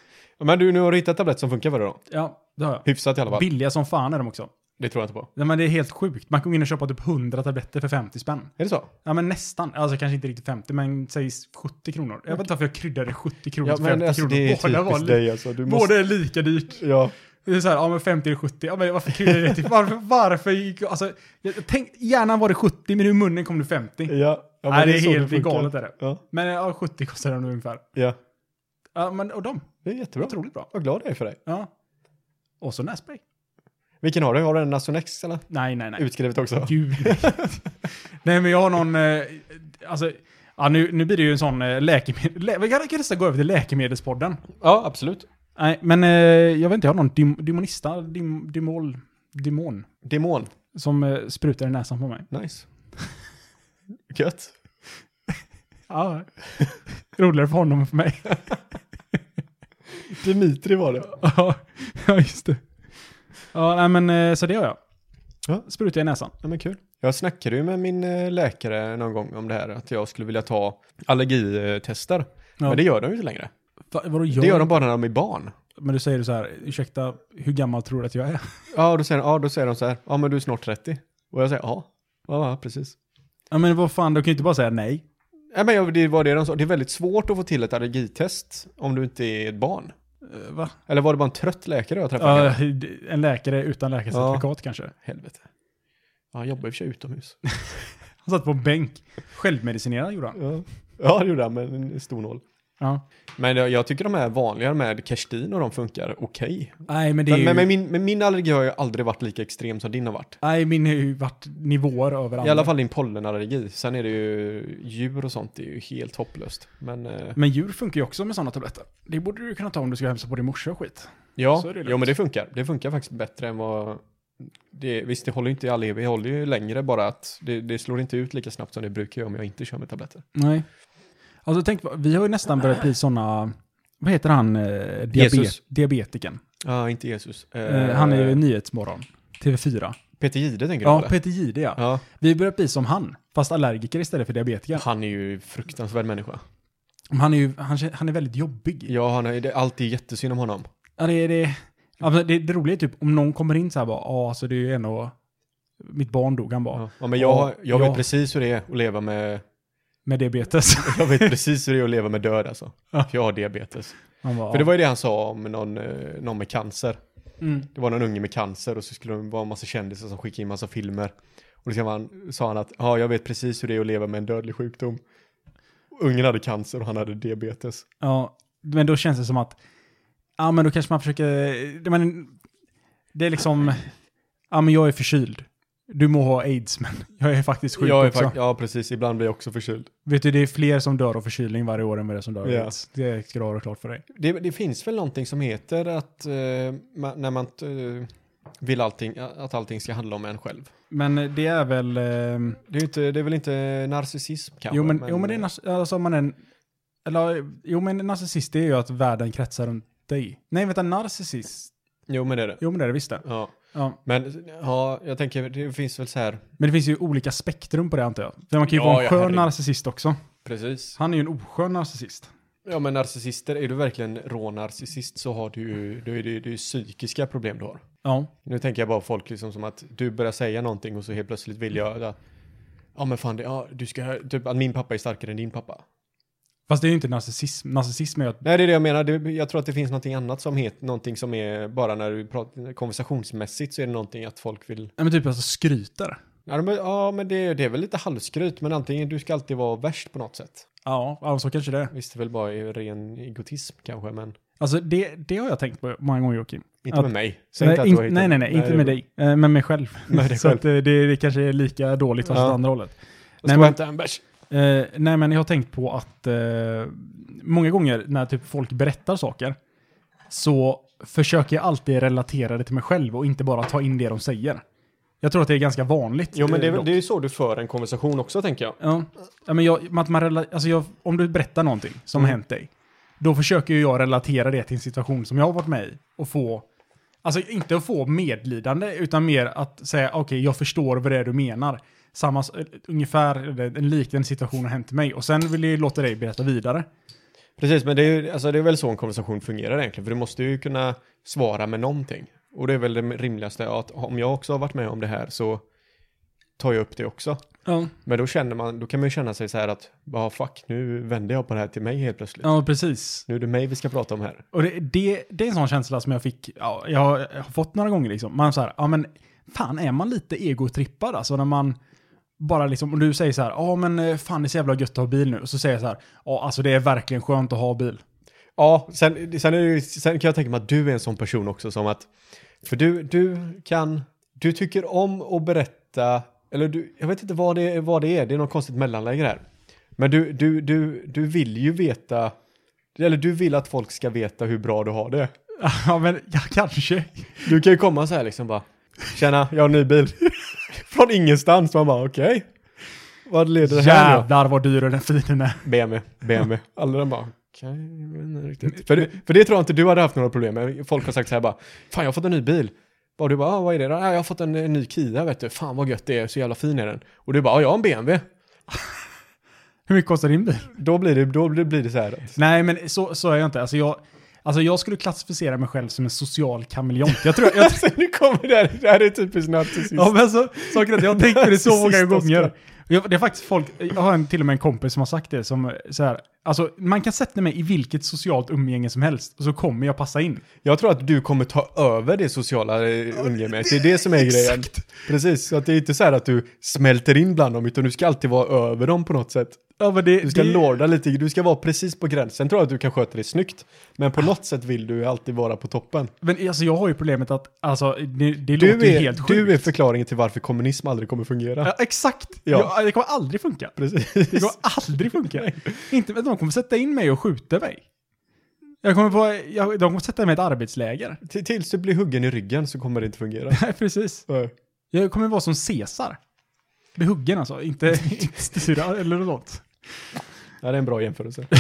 Speaker 3: Men du, nu har du hittat tablett som funkar för dig då?
Speaker 1: Ja, det har jag.
Speaker 3: Hyfsat i alla fall.
Speaker 1: Billiga som fan är de också.
Speaker 3: Det tror jag inte på.
Speaker 1: Nej, men det är helt sjukt. Man kan gå in och köpa typ 100 tabletter för 50 spänn.
Speaker 3: Är det så?
Speaker 1: Ja, men nästan. Alltså kanske inte riktigt 50, men säg 70 kronor. Jag vet inte varför jag kryddade 70 kronor
Speaker 3: Ja,
Speaker 1: till 50
Speaker 3: men alltså,
Speaker 1: kronor.
Speaker 3: det är
Speaker 1: Båda var
Speaker 3: typiskt
Speaker 1: li-
Speaker 3: dig alltså. Du måste...
Speaker 1: Båda är lika dyrt.
Speaker 3: Ja.
Speaker 1: Det är så här, ja men 50 eller 70. Ja, men varför kryddade jag det till? Varför? varför gick, alltså, jag, tänk, hjärnan var det 70, men ur munnen kom det 50.
Speaker 3: Ja. ja men
Speaker 1: Nej, det är
Speaker 3: så
Speaker 1: helt
Speaker 3: funkar.
Speaker 1: galet är det.
Speaker 3: Ja,
Speaker 1: Men ja, 70 kostar den ungefär.
Speaker 3: ja.
Speaker 1: Ja, men och de.
Speaker 3: Det är jättebra.
Speaker 1: Otroligt bra.
Speaker 3: Vad glad jag är för dig.
Speaker 1: Ja. Och så nässpray.
Speaker 3: Vilken har du? Har du en Nasonex eller?
Speaker 1: Nej, nej, nej.
Speaker 3: Utskrivet också?
Speaker 1: Gud. nej. nej, men jag har någon, eh, alltså, ja, nu, nu blir det ju en sån eh, läkemedel... Lä, vi kan kan nästan gå över till läkemedelspodden.
Speaker 3: Ja, absolut.
Speaker 1: Nej, men eh, jag vet inte, jag har någon dim, demonista, dim, dimol, demon,
Speaker 3: Demon.
Speaker 1: som eh, sprutar i näsan på mig.
Speaker 3: Nice. Gött.
Speaker 1: Ja, roligare för honom än för mig.
Speaker 3: Dimitri var det.
Speaker 1: ja, just det. Ja, nej, men eh, så det gör jag.
Speaker 3: Ja.
Speaker 1: Sprutar i näsan.
Speaker 3: Ja, men kul. Jag snackade ju med min eh, läkare någon gång om det här, att jag skulle vilja ta allergitester.
Speaker 1: Ja.
Speaker 3: Men det gör de ju inte längre.
Speaker 1: Va, vadå
Speaker 3: Det gör de bara när de är barn.
Speaker 1: Men du säger det så här, ursäkta, hur gammal tror du att jag är?
Speaker 3: Ja, och då säger, ja, då säger de så här, ja men du är snart 30. Och jag säger, ja, ja, ja, precis.
Speaker 1: Ja men vad fan, du kan ju inte bara säga nej.
Speaker 3: Ja, men jag- det var det de sa, det är väldigt svårt att få till ett allergitest om du inte är ett barn.
Speaker 1: Eh, Va?
Speaker 3: Eller var det bara en trött läkare jag träffade?
Speaker 1: Ja, d- en läkare utan läkarcertifikat kanske.
Speaker 3: Helvete. Ja, han jobbar i och för sig utomhus.
Speaker 1: Han satt på en bänk. Självmedicinerad gjorde han.
Speaker 3: Ja, ja det gjorde han med en stor nål.
Speaker 1: Ja.
Speaker 3: Men jag, jag tycker de här vanliga med Kerstin och de funkar okej.
Speaker 1: Nej men det är
Speaker 3: Men,
Speaker 1: ju...
Speaker 3: men, men, min, men min allergi har ju aldrig varit lika extrem som din har varit.
Speaker 1: Nej min har ju varit nivåer över andra.
Speaker 3: I alla fall din pollenallergi. Sen är det ju djur och sånt, det är ju helt hopplöst. Men eh,
Speaker 1: Men djur funkar ju också med sådana tabletter. Det borde du kunna ta om du ska hälsa på din morsa och skit.
Speaker 3: ja,
Speaker 1: så är det lugnt.
Speaker 3: jo, men det funkar. Det funkar faktiskt bättre än vad... Det, visst, det håller ju inte i all evighet, det håller ju längre bara att det, det slår inte ut lika snabbt som det brukar göra om jag inte kör med tabletter.
Speaker 1: Nej. Alltså tänk, på- vi har ju nästan börjat bli sådana... Vad heter han? Eh, diabet,
Speaker 3: Jesus.
Speaker 1: diabetiken.
Speaker 3: Ja, ah, inte Jesus.
Speaker 1: Eh, han är ju Nyhetsmorgon. TV4.
Speaker 3: Peter Jihde tänker du
Speaker 1: Ja,
Speaker 3: på, eller?
Speaker 1: Peter Jihde ja.
Speaker 3: Ja,
Speaker 1: Vi börjar bli som han, fast allergiker istället för diabetiker.
Speaker 3: han är ju fruktansvärd människa.
Speaker 1: Men Han är ju han, han är väldigt jobbig.
Speaker 3: Ja, han är, det, allt är jättesynd om honom.
Speaker 1: Ja, det, är- det, är- ja, men det, det roliga är typ om någon kommer in så här bara, ja alltså det är ju en och... Mitt barn dog han bara.
Speaker 3: Ja, men jag,
Speaker 1: Ja,
Speaker 3: jag vet
Speaker 1: ja.
Speaker 3: precis hur det är att leva med...
Speaker 1: Med diabetes.
Speaker 3: Jag vet precis hur det är att leva med död alltså.
Speaker 1: Ja.
Speaker 3: För jag har diabetes.
Speaker 1: Han bara,
Speaker 3: För det
Speaker 1: ja.
Speaker 3: var ju det han sa om någon, eh, någon med cancer.
Speaker 1: mm.
Speaker 3: Det var någon unge med cancer och så skulle det vara en massa kändisar som skickade in massa filmer. Och då sa han, sa han att ja, jag vet precis hur det är att leva med en dödlig sjukdom. Ungen hade cancer och han hade diabetes.
Speaker 1: ja, men då känns det som att, ja men då kanske man försöker, det, men, det är liksom, ja men jag är förkyld. Du må ha aids men jag är faktiskt sjuk
Speaker 3: Jag är
Speaker 1: också.
Speaker 3: fakt- ja, precis. Ibland blir jag också förkyld.
Speaker 1: Vet du, det är fler som dör av förkylning varje år än vad det är som dör av
Speaker 3: Ja.
Speaker 1: aids. Det ska du ha klart för dig.
Speaker 3: Det, det finns väl någonting som heter att eh, ma- när man eh, vill allting, att allting ska handla om en själv.
Speaker 1: Men det är väl... ehm,
Speaker 3: Det är, ju inte, det är väl inte narcissism kanske? eh,
Speaker 1: Jo men, jo, men det är nas- alltså, man är en, eller, jo, men narcissist det är ju att världen kretsar runt dig. Nej, vänta, narcissist.
Speaker 3: Jo, men det är det.
Speaker 1: Jo, men det är det visst det.
Speaker 3: Ja.
Speaker 1: Ja.
Speaker 3: Men ja, jag tänker, det finns väl så här,
Speaker 1: Men det finns ju olika spektrum på det antar jag. För man kan ju
Speaker 3: Ja,
Speaker 1: vara en
Speaker 3: ja,
Speaker 1: skön
Speaker 3: herregud.
Speaker 1: narcissist också.
Speaker 3: precis.
Speaker 1: Han är ju en oskön narcissist.
Speaker 3: Ja, men narcissister, är du verkligen rå narcissist så har du ju, då är det, det är ju psykiska problem du har.
Speaker 1: Ja.
Speaker 3: Nu tänker jag bara på folk liksom som att du börjar säga någonting och så helt plötsligt vill jag, ja, ja men fan, det, ja, du ska, typ att min pappa är starkare än din pappa.
Speaker 1: Fast det är ju inte narcissism. Narcissism är ju att...
Speaker 3: Nej, det är det jag menar. Det, jag tror att det finns någonting annat som heter, någonting som är bara när du pratar konversationsmässigt så är det någonting att folk vill,
Speaker 1: Nej, men typ alltså skryter.
Speaker 3: ja men, ja, men det, det är väl lite halvskryt, men antingen du ska alltid vara värst på något sätt.
Speaker 1: Ja, ja, så kanske det är.
Speaker 3: Visst, det är väl bara är ren egotism kanske, men
Speaker 1: Alltså det, det har jag tänkt på många gånger Joakim.
Speaker 3: inte
Speaker 1: Att-
Speaker 3: med mig. Säg
Speaker 1: Nej,
Speaker 3: inte att
Speaker 1: in,
Speaker 3: du har hittat-
Speaker 1: nej, nej, nej, inte
Speaker 3: det-
Speaker 1: med dig. Eh, Men mig själv.
Speaker 3: Med dig
Speaker 1: så
Speaker 3: själv.
Speaker 1: att eh, det, det kanske är lika dåligt fast
Speaker 3: Ja.
Speaker 1: åt andra hållet.
Speaker 3: Jag
Speaker 1: Nej,
Speaker 3: ska
Speaker 1: men-
Speaker 3: hämta en bärs.
Speaker 1: Eh, nej, men jag har tänkt på att eh, många gånger när typ folk berättar saker så försöker jag alltid relatera det till mig själv och inte bara ta in det de säger. Jag tror att det är ganska vanligt.
Speaker 3: Jo, men det är,
Speaker 1: eh,
Speaker 3: väl-
Speaker 1: dock.
Speaker 3: det är ju så du för en konversation också, tänker jag.
Speaker 1: Ja, ja men jag, att man rela- alltså jag, om du berättar någonting som har
Speaker 3: Mm.
Speaker 1: hänt dig, då försöker ju jag relatera det till en situation som jag har varit med i och få, alltså inte att få medlidande, utan mer att säga okej, jag förstår vad det är du menar. Samma, s- ungefär eller en liknande situation har hänt mig och sen vill jag ju låta dig berätta vidare.
Speaker 3: Precis, men det är, ju- alltså, det är väl så en konversation fungerar egentligen, för du måste ju kunna svara med någonting. Och det är väl det rimligaste, att om jag också har varit med om det här så tar jag upp det också.
Speaker 1: Ja,
Speaker 3: Men då, känner man, då kan man ju känna sig så här att, ja fuck, nu vänder jag på det här till mig helt plötsligt.
Speaker 1: ja precis.
Speaker 3: Nu är det mig vi ska prata om här.
Speaker 1: Och det, det, det är en sån känsla som jag fick, ja, jag, har, jag har fått några gånger liksom. Man så här, ja men fan är man lite egotrippad alltså när man bara liksom, och du säger så här, ja men eh, fan det är så jävla gött att ha bil nu. Och så säger jag så här, ja alltså det är verkligen skönt att ha bil.
Speaker 3: Ja, sen, sen, är det, ju- sen kan jag tänka mig att du är en sån person också som att För du, du kan, du tycker om att berätta, eller du, jag vet inte vad det, vad det är, det är något konstigt mellanläge här. Men du, du, du, du vill ju veta, eller du vill att folk ska veta hur bra du har det.
Speaker 1: Ja, men ja, kanske.
Speaker 3: Du kan ju komma så här liksom bara, tjena, jag har en ny bil. Från ingenstans, man bara okej. Vad leder det här nu?
Speaker 1: Jävlar vad dyr den filen är.
Speaker 3: BMW, BMW. Alla de bara, okej, jag vet inte riktigt. För, det- för det tror jag inte du hade haft några problem med. Folk har sagt så här bara, fan jag har fått en ny bil. Och du bara, ah, vad är det då? Ah, jag har fått en, en ny Kia vet du. Fan vad gött det är, så jävla fin är den. Och du bara, ah, jag har en BMW.
Speaker 1: Hur mycket kostar din bil?
Speaker 3: Då blir det, då blir blir det så här. att-
Speaker 1: Nej, men så, så är jag inte. Alltså jag, alltså jag skulle klassificera mig själv som en social kameleont. Jag tror, jag,
Speaker 3: Alltså nu kommer det här, det här är typiskt narcissist.
Speaker 1: ja, men så, saken är att jag har tänkt på det så många
Speaker 3: Sist,
Speaker 1: gånger.
Speaker 3: Oskar.
Speaker 1: Jag, det är faktiskt folk, jag har en, till och med en kompis som har sagt det som eh, så här, alltså man kan sätta mig i vilket socialt umgänge som helst och så kommer jag passa in.
Speaker 3: Jag tror att du kommer ta över det sociala eh, umgänget. Det är det som är grejen. Precis, så att det är inte så här att du smälter in bland dem, utan du ska alltid vara över dem på något sätt.
Speaker 1: Ja, men det,
Speaker 3: Du ska
Speaker 1: det,
Speaker 3: lorda lite, du ska vara precis på gränsen. Sen tror jag att du kan sköta det snyggt, men
Speaker 1: Ah.
Speaker 3: på något sätt vill du alltid vara på toppen.
Speaker 1: Men alltså jag har ju problemet att, alltså det, det låter
Speaker 3: Du
Speaker 1: ju
Speaker 3: är,
Speaker 1: helt sjukt.
Speaker 3: du är förklaringen till varför kommunism aldrig kommer fungera.
Speaker 1: Ja, exakt!
Speaker 3: Ja.
Speaker 1: Jag, det kommer aldrig funka. Det
Speaker 3: Precis.
Speaker 1: kommer aldrig funka. Inte, men de kommer sätta in mig och skjuta mig. Jag kommer på, jag, de kommer sätta mig i ett arbetsläger.
Speaker 3: T- Tills du blir huggen i ryggen så kommer det inte fungera.
Speaker 1: Nej, precis.
Speaker 3: Så.
Speaker 1: Jag kommer vara som Caesar. Bli huggen alltså, inte inte styra eller något.
Speaker 3: Ja, det är en bra jämförelse.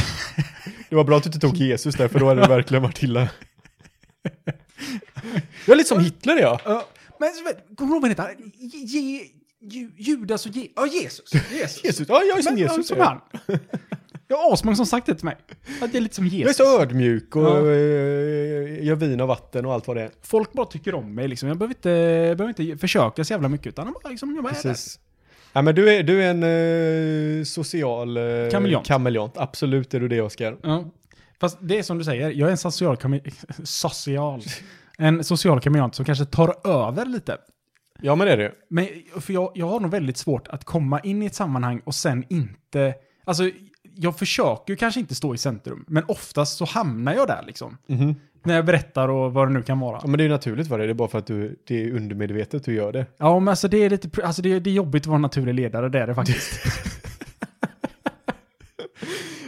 Speaker 3: Det var bra att du inte tog Jesus där, för då hade det verkligen varit illa. Jag är lite som Hitler, ja.
Speaker 1: Ja, men så vet- kommer du ihåg vad han hette? Ge- ge- ju- Judas och ge, ja, Jesus. Jesus.
Speaker 3: Jesus. Ja, jag är som
Speaker 1: Men,
Speaker 3: Jesus.
Speaker 1: ja, som
Speaker 3: ja.
Speaker 1: han. Jag har asmånga som sagt det till mig. Att jag är lite som
Speaker 3: Jag är
Speaker 1: Jesus.
Speaker 3: så ödmjuk och
Speaker 1: Ja.
Speaker 3: eh, gör vin av vatten och allt vad det är.
Speaker 1: Folk bara tycker om mig liksom. Jag behöver inte, jag behöver inte försöka så jävla mycket utan jag bara liksom, jag bara är där.
Speaker 3: Precis. Ja, men du är, du är en eh, social eh,
Speaker 1: Kameleont.
Speaker 3: kameleont. Absolut är du det, Oskar.
Speaker 1: Ja. Fast det är som du säger, jag är en social kame- social. En social kameleont som kanske tar över lite.
Speaker 3: Ja, men det är det.
Speaker 1: Men för jag, jag har nog väldigt svårt att komma in i ett sammanhang och sen inte... Alltså, jag försöker ju kanske inte stå i centrum, men oftast så hamnar jag där liksom.
Speaker 3: Mhm.
Speaker 1: När jag berättar och vad det nu kan vara.
Speaker 3: Ja, men det är ju naturligt vad det är. Det är bara för att du, det är undermedvetet du gör det.
Speaker 1: Ja, men alltså det är lite... pr- Alltså det, det är jobbigt att vara en naturlig ledare, det är det faktiskt.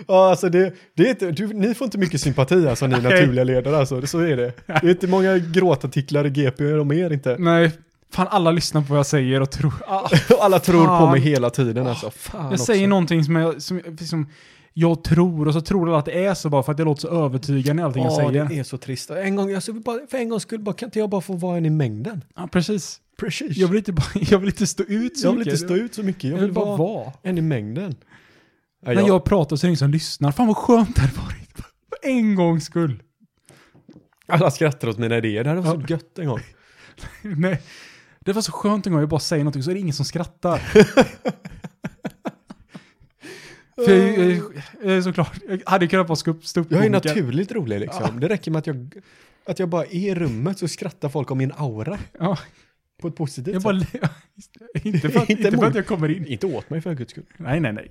Speaker 3: Ja, alltså det, det är inte, du, ni får inte mycket sympati alltså, ni naturliga ledare alltså, så är det. Det är inte många gråtartiklar i GP om er inte.
Speaker 1: Nej. Fan, alla lyssnar på vad jag säger och tror... Ah,
Speaker 3: Och Alla tror på
Speaker 1: Fan.
Speaker 3: mig hela tiden alltså. Fan
Speaker 1: jag
Speaker 3: också.
Speaker 1: säger någonting som jag... Som, jag- liksom, jag tror och så tror alla att det är så bara för att jag låter så övertygande i allting jag
Speaker 3: Ja,
Speaker 1: säger.
Speaker 3: det är så trist. En gång, alltså, bara, för en gångs skull, bara, kan inte jag bara få vara en i mängden?
Speaker 1: Ja, precis.
Speaker 3: Precis.
Speaker 1: Jag vill inte, bara, jag vill inte stå ut så
Speaker 3: Jag vill
Speaker 1: mycket.
Speaker 3: inte stå ut så mycket. Jag
Speaker 1: Jag
Speaker 3: vill,
Speaker 1: vill, bara
Speaker 3: vara
Speaker 1: vara.
Speaker 3: en i mängden. Nej,
Speaker 1: När
Speaker 3: jag,
Speaker 1: jag pratar så är det ingen som lyssnar. Fan vad skönt det hade varit. För en gångs skull.
Speaker 3: Alla skrattar åt mina idéer. Det här var så gött en gång.
Speaker 1: Nej. Det var så skönt en gång jag bara säger någonting så är det ingen som skrattar. För jag, är ju- jag, är såklart, jag hade ju kunnat vara skupp-
Speaker 3: Jag är
Speaker 1: ståuppkomiker.
Speaker 3: naturligt rolig liksom. Det räcker med att jag, att jag bara är i rummet så skrattar folk om min aura
Speaker 1: Ja,
Speaker 3: på ett positivt
Speaker 1: jag bara,
Speaker 3: sätt.
Speaker 1: inte för, att,
Speaker 3: Inte
Speaker 1: inte för
Speaker 3: emot.
Speaker 1: att jag kommer in.
Speaker 3: Inte åt mig för guds skull.
Speaker 1: Nej, nej, nej.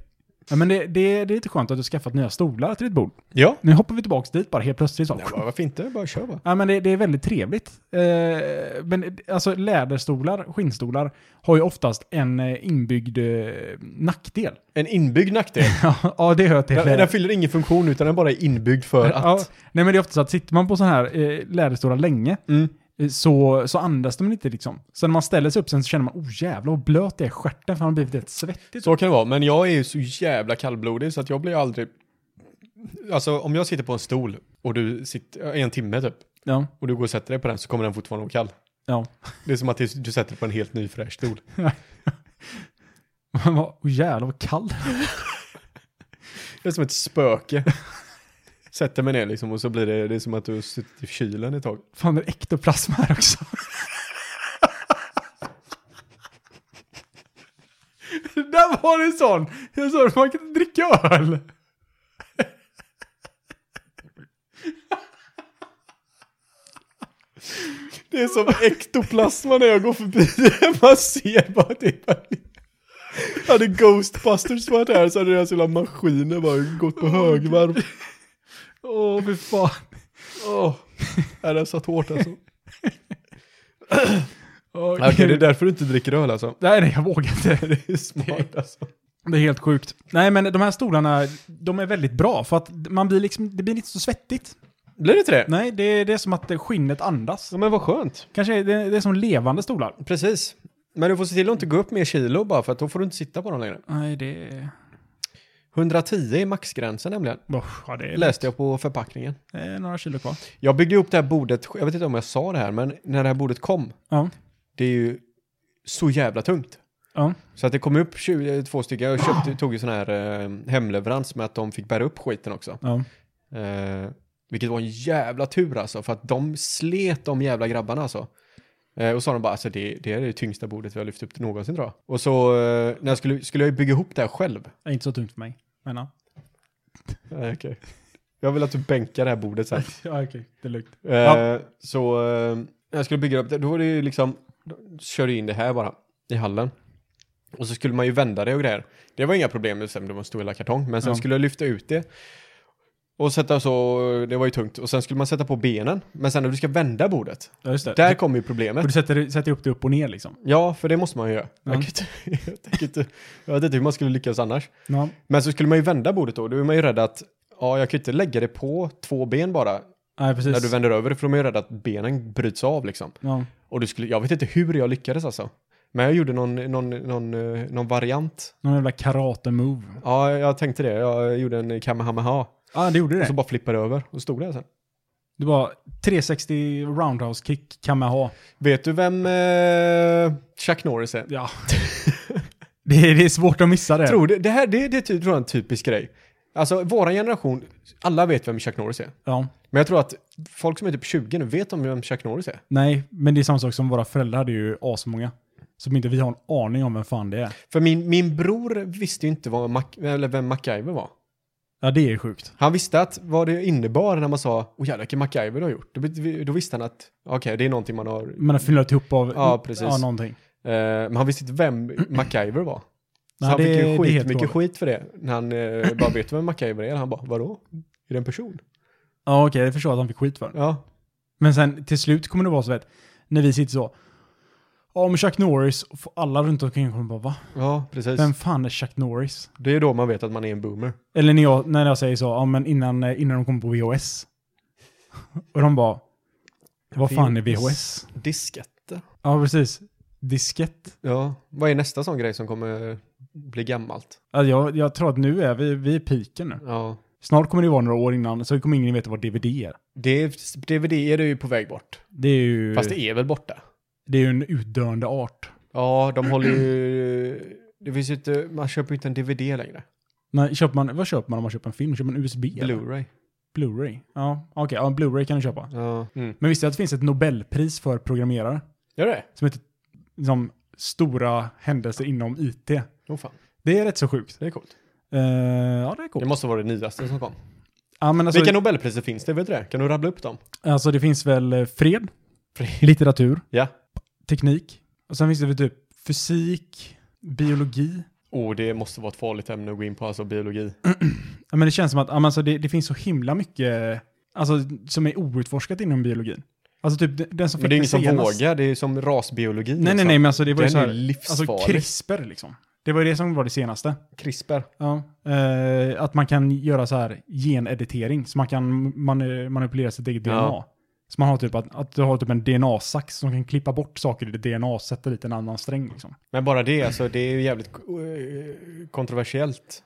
Speaker 1: Ja, men det, det, det är lite skönt att du skaffat nya stolar till ditt bord.
Speaker 3: Ja.
Speaker 1: Nu hoppar vi tillbaka dit bara helt plötsligt. Så.
Speaker 3: Ja, bara, varför inte? Bara kör bara.
Speaker 1: Ja, men det, det är väldigt trevligt. Eh, men alltså läderstolar, skinnstolar, har ju oftast en eh, inbyggd eh, nackdel.
Speaker 3: En inbyggd nackdel.
Speaker 1: ja, det hör till.
Speaker 3: Den, den fyller ingen funktion utan den bara är inbyggd för
Speaker 1: ja,
Speaker 3: att...
Speaker 1: nej, men det är oftast att sitter man på sådana här eh, läderstolar länge
Speaker 3: Mm.
Speaker 1: eh, så, så andas de inte liksom. Så när man ställer sig upp sen så känner man, oh jävlar vad blöt det är i stjärten för han har blivit helt svettig.
Speaker 3: Så kan det vara, men jag är ju så jävla kallblodig så att jag blir aldrig... Alltså om jag sitter på en stol och du sitter en timme typ
Speaker 1: Ja,
Speaker 3: och du går och sätter dig på den så kommer den fortfarande vara kall.
Speaker 1: ja.
Speaker 3: Det är som att du sätter dig på en helt ny fräsch stol.
Speaker 1: Man bara, oh jävlar vad kall
Speaker 3: Det är som ett spöke. Sätter mig ner liksom och så blir det, det är som att du har suttit i kylen ett tag.
Speaker 1: Fan, det är ektoplasma här också.
Speaker 3: Typ
Speaker 1: Där var det en sån! Jag sa att man kan inte dricka öl.
Speaker 3: Det är som ektoplasma när jag går förbi. Man ser bara att det är bara... Hade Ghostbusters varit här så hade deras jävla maskiner bara gått på högvarv.
Speaker 1: Åh, fy fan.
Speaker 3: Äh, Åh, oh. det har satt hårt alltså.
Speaker 1: Och-
Speaker 3: Okej, det är därför du inte dricker öl alltså.
Speaker 1: Nej, nej, jag vågar inte.
Speaker 3: Det är smart alltså.
Speaker 1: Det är helt sjukt. Nej, men de här stolarna, de är väldigt bra för att man blir liksom, det blir inte så svettigt.
Speaker 3: Blir det inte det?
Speaker 1: Nej, det, det är som att skinnet andas.
Speaker 3: Ja, men vad skönt.
Speaker 1: Kanske är det, det är som levande stolar.
Speaker 3: Precis. Men du får se till att inte gå upp mer kilo bara för att då får du inte sitta på dem längre.
Speaker 1: Nej, det är...
Speaker 3: 110 är maxgränsen nämligen.
Speaker 1: Usch, ja, det är
Speaker 3: Läste jag på förpackningen.
Speaker 1: Det är några kilo kvar.
Speaker 3: Jag byggde upp det här bordet, jag vet inte om jag sa det här, men när det här bordet kom,
Speaker 1: Ja.
Speaker 3: det är ju så jävla tungt.
Speaker 1: Ja.
Speaker 3: Så att det kom upp 20, två stycken, jag köpte, tog ju sån här eh, hemleverans med att de fick bära upp skiten också.
Speaker 1: ja.
Speaker 3: Eh, vilket var en jävla tur alltså, för att de slet de jävla grabbarna alltså. Eh, och sa de bara, alltså det, det är det tyngsta bordet vi har lyft upp någonsin tror jag. Och så, eh, när jag skulle, skulle jag ju bygga ihop det här själv.
Speaker 1: Det är inte så tungt för mig. Men ja.
Speaker 3: Eh, okej. Jag vill att du bänkar det här bordet sen.
Speaker 1: ja okej. Det är lugnt.
Speaker 3: Eh, Så eh, jag skulle bygga upp det. Då var det ju liksom, då körde jag in det här bara i hallen. Och så skulle man ju vända det och grejer. Det var inga problem, det var en stor jävla kartong. Men sen
Speaker 1: Ja.
Speaker 3: skulle jag lyfta ut det. Och sätta så, det var ju tungt. Och sen skulle man sätta på benen. Men sen när du ska vända bordet,
Speaker 1: Ja, just det.
Speaker 3: där
Speaker 1: Du-
Speaker 3: kommer ju
Speaker 1: och
Speaker 3: problemet.
Speaker 1: du sätter, sätter upp det upp och ner liksom.
Speaker 3: Ja, för det måste man ju göra. Jag,
Speaker 1: Ja.
Speaker 3: kan inte, jag, tänker inte, jag vet inte hur man skulle lyckas annars.
Speaker 1: Ja.
Speaker 3: Men så skulle man ju vända bordet då. Då är man ju rädd att, ja, jag kan ju inte lägga det på två ben bara.
Speaker 1: Nej, precis.
Speaker 3: När du vänder över det, för de är ju rädda att benen bryts av liksom.
Speaker 1: ja.
Speaker 3: Och du skulle, jag vet inte hur jag lyckades alltså. Men jag gjorde någon, någon, någon, eh, någon variant.
Speaker 1: Någon jävla karate-move.
Speaker 3: Ja, jag tänkte det. Jag gjorde en kamahamaha.
Speaker 1: Ja, det gjorde
Speaker 3: Och så
Speaker 1: det.
Speaker 3: bara flippade över och stod där sen.
Speaker 1: Det var 360 roundhouse-kick kan man ha.
Speaker 3: Vet du vem eh, Chuck Norris är?
Speaker 1: Ja. det, är, det är svårt att missa det.
Speaker 3: Tror du, det här det, det tror jag är en typisk grej. Alltså, våran generation, alla vet vem Chuck Norris är.
Speaker 1: Ja.
Speaker 3: Men jag tror att folk som är typ 20 nu vet om vem Chuck Norris är.
Speaker 1: Nej, men det är samma sak som våra föräldrar hade ju asmånga. Som inte vi har en aning om vem fan det är.
Speaker 3: För min, min bror visste ju inte vad Mac, eller vem MacGyver var.
Speaker 1: Ja, det är sjukt.
Speaker 3: Han visste att vad det innebar när man sa åh jävlar vilken MacGyver du har gjort. Då, då visste han att okej det är någonting man har.
Speaker 1: Man har fyllt ihop av
Speaker 3: Ja, precis.
Speaker 1: Ja, någonting.
Speaker 3: Eh, men han visste inte vem MacGyver var. Så
Speaker 1: Nej,
Speaker 3: han
Speaker 1: det-
Speaker 3: fick
Speaker 1: det är
Speaker 3: ju
Speaker 1: helt
Speaker 3: skitmycket
Speaker 1: galet.
Speaker 3: skit för det. När han eh, bara vet du vem MacGyver är. Han bara vadå? Är det en person?
Speaker 1: Ja, okej, det förstår jag att han fick skit för.
Speaker 3: Ja.
Speaker 1: Men sen till slut kommer det vara så vet, när vi sitter så. Om Chuck Norris, och får alla runt omkring kommer bara va?
Speaker 3: Ja precis.
Speaker 1: Vem fan är Chuck Norris?
Speaker 3: Det är då man vet att man är en boomer.
Speaker 1: Eller när jag, när jag säger så, ja men innan, eh, innan de kom på VHS. Och de bara, vad fan är VHS?
Speaker 3: Disketter.
Speaker 1: Ja precis, diskett.
Speaker 3: Ja. Vad är nästa sån grej som kommer bli gammalt?
Speaker 1: Ja, jag, jag tror att nu är vi, vi är piken nu.
Speaker 3: Ja.
Speaker 1: Snart kommer det vara några år innan, så kommer ingen veta vad DVD är.
Speaker 3: Det, DVD är ju på väg bort.
Speaker 1: Det är ju,
Speaker 3: Fast
Speaker 1: det...
Speaker 3: det är väl borta?
Speaker 1: är ju en utdöende art.
Speaker 3: Ja, de håller ju... Det finns ju inte, man köper ju inte en DVD längre.
Speaker 1: Nej, köper man, vad köper man om man köper en film? Köper man USB? eller?
Speaker 3: Blu-ray.
Speaker 1: Blu-ray? Ja, okej, ja, Blu-ray kan du köpa.
Speaker 3: Ja. Mm.
Speaker 1: Men visste du att det finns ett nobelpris för programmerare?
Speaker 3: Gör det?
Speaker 1: Som heter liksom, stora händelser inom IT.
Speaker 3: Åh fan,
Speaker 1: Det är rätt så sjukt.
Speaker 3: det är coolt.
Speaker 1: Eh, ja, det är
Speaker 3: Det
Speaker 1: coolt.
Speaker 3: måste vara det nyaste som kom.
Speaker 1: Ja, men alltså,
Speaker 3: Vilka nobelpriser finns det? Vet du det? Kan du rabbla upp dem?
Speaker 1: alltså det finns väl eh, fred, litteratur,
Speaker 3: Ja.
Speaker 1: teknik. Och sen finns det väl typ fysik, biologi.
Speaker 3: Åh, Oh, det måste vara ett farligt ämne att gå in på, alltså biologi.
Speaker 1: Ja, men det känns som att ja, men alltså, det, det finns så himla mycket alltså, som är outforskat inom biologin. Alltså typ den- den som
Speaker 3: Men
Speaker 1: fick
Speaker 3: det är ingen som
Speaker 1: senast-
Speaker 3: vågar, det är som rasbiologi. liksom.
Speaker 1: Nej, nej, nej, men alltså det var ju
Speaker 3: Den
Speaker 1: så
Speaker 3: är
Speaker 1: här,
Speaker 3: livsfarlig.
Speaker 1: alltså CRISPR liksom. Det var ju det som var det senaste.
Speaker 3: CRISPR.
Speaker 1: Ja, eh, att man kan göra så här geneditering, så man kan man, manipulera sitt eget
Speaker 3: Ja.
Speaker 1: DNA. Så man har typ att, att du har typ en DNA-sax som kan klippa bort saker i ditt DNA och sätta dit en annan sträng. Liksom.
Speaker 3: Men bara det, alltså det är ju jävligt eh, kontroversiellt.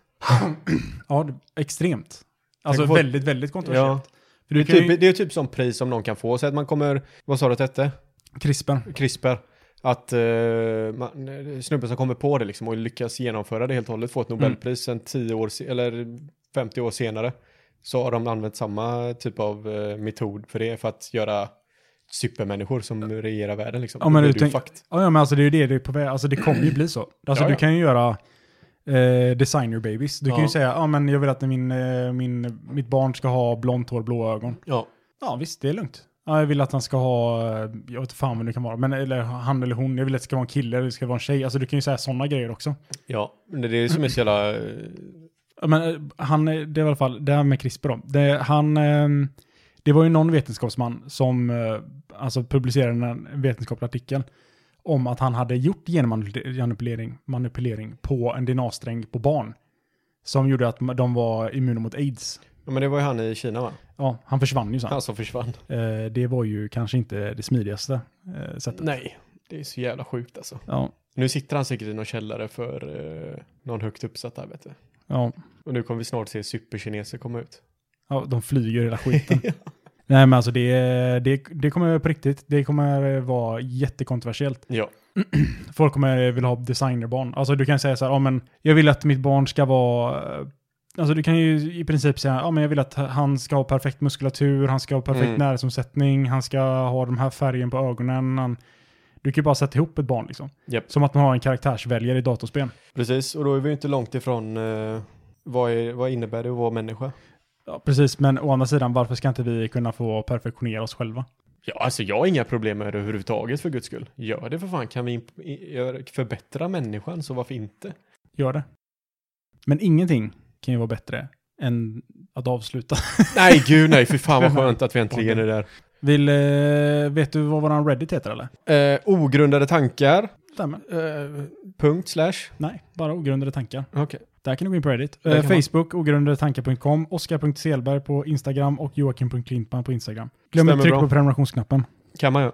Speaker 1: Ja, det- extremt. Alltså
Speaker 3: att få-
Speaker 1: väldigt, väldigt kontroversiellt. För
Speaker 3: Det
Speaker 1: du
Speaker 3: är,
Speaker 1: kan
Speaker 3: typ,
Speaker 1: ju,
Speaker 3: det är typ som pris som någon kan få. Så att man kommer, vad sa du att det hette?
Speaker 1: CRISPR.
Speaker 3: CRISPR. Att eh, man, snubben som kommer på det liksom och lyckas genomföra det helt och hållet får ett
Speaker 1: Mm.
Speaker 3: Nobelpris sen 10 år se- eller 50 år senare. Så har de använt samma typ av eh, metod för det för att göra supermänniskor som regerar världen liksom.
Speaker 1: Ja,
Speaker 3: Då
Speaker 1: men
Speaker 3: blir
Speaker 1: du
Speaker 3: det ju
Speaker 1: tänk-
Speaker 3: fucked.
Speaker 1: Ja, ja, men alltså det är ju det det är på väg. Alltså det kommer ju bli så. Alltså
Speaker 3: Ja,
Speaker 1: du
Speaker 3: ja.
Speaker 1: kan ju göra eh, designer babies. Du kan
Speaker 3: Ja.
Speaker 1: ju säga, ja men jag vill att min, eh, min, mitt barn ska ha blont hår, blå ögon.
Speaker 3: Ja.
Speaker 1: Ja visst, det är lugnt. Ja, jag vill att han ska ha, eh, jag vet inte fan vad det kan vara, men eller han eller hon, jag vill att det ska vara en kille eller det ska vara en tjej. Alltså du kan ju säga sådana grejer också.
Speaker 3: ja, men det är som är så jävla... eh,
Speaker 1: Ja, Men eh, han, eh, det var i alla fall, det här med CRISPR då. Det, han, eh, Det var ju någon vetenskapsman som eh, alltså publicerade en vetenskaplig artikel om att han hade gjort genmanipulering manipulering på en DNA-sträng på barn. Som gjorde att de var immuna mot aids.
Speaker 3: Ja, men det var ju han i Kina va?
Speaker 1: Ja, han försvann ju sen.
Speaker 3: Han som försvann.
Speaker 1: Eh, det var ju kanske inte det smidigaste eh, sättet.
Speaker 3: Nej, det är så jävla sjukt alltså.
Speaker 1: Ja,
Speaker 3: Nu sitter han säkert i någon källare för eh, någon högt uppsatt där vet du.
Speaker 1: ja,
Speaker 3: Och nu kommer vi snart se superkineser komma ut.
Speaker 1: ja, de flyger hela skiten. Nej men alltså det, det, det kommer på riktigt, det kommer vara jättekontroversiellt.
Speaker 3: Ja.
Speaker 1: Folk kommer vilja ha designerbarn. Alltså du kan säga så här, ja men jag vill att mitt barn ska vara... Alltså du kan ju i princip säga, ja men jag vill att han ska ha perfekt muskulatur, han ska ha perfekt
Speaker 3: Mm.
Speaker 1: näringsomsättning, han ska ha de här färgen på ögonen. Han, du kan ju bara sätta ihop ett barn liksom.
Speaker 3: Japp.
Speaker 1: Som att man har en karaktärsväljare i datorspel.
Speaker 3: Precis, och då är vi ju inte långt ifrån eh, vad, är, vad innebär det att vara människa?
Speaker 1: Ja, precis, men å andra sidan, varför ska inte vi kunna få perfektionera oss själva?
Speaker 3: Ja, alltså jag har inga problem med det överhuvudtaget för guds skull. Gör det för fan, kan vi imp- i- gör- förbättra människan så varför inte?
Speaker 1: Gör det. Men ingenting kan ju vara bättre än att avsluta.
Speaker 3: Nej, gud nej, för fan vad skönt att vi äntligen är där.
Speaker 1: Vill, eh, vet du vad våran Reddit heter eller?
Speaker 3: Eh, ogrundade tankar.
Speaker 1: Stämmer.
Speaker 3: Eh, punkt slash.
Speaker 1: Nej, bara ogrundade tankar.
Speaker 3: Okej.
Speaker 1: Där kan du gå in på Reddit.
Speaker 3: Där
Speaker 1: Eh,
Speaker 3: kan man.
Speaker 1: Facebook, ogrundadetankar.com, oskar.selberg på Instagram och joakim.klintman på Instagram. Glöm
Speaker 3: Stämmer
Speaker 1: inte trycka
Speaker 3: bra.
Speaker 1: på prenumerationsknappen.
Speaker 3: Kan man ju.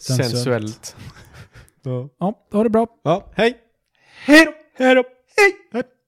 Speaker 1: Sensuellt.
Speaker 3: Sensuellt. ja.
Speaker 1: Ja, ha det bra.
Speaker 3: ja, hej! Hej då! Hej då! Hej!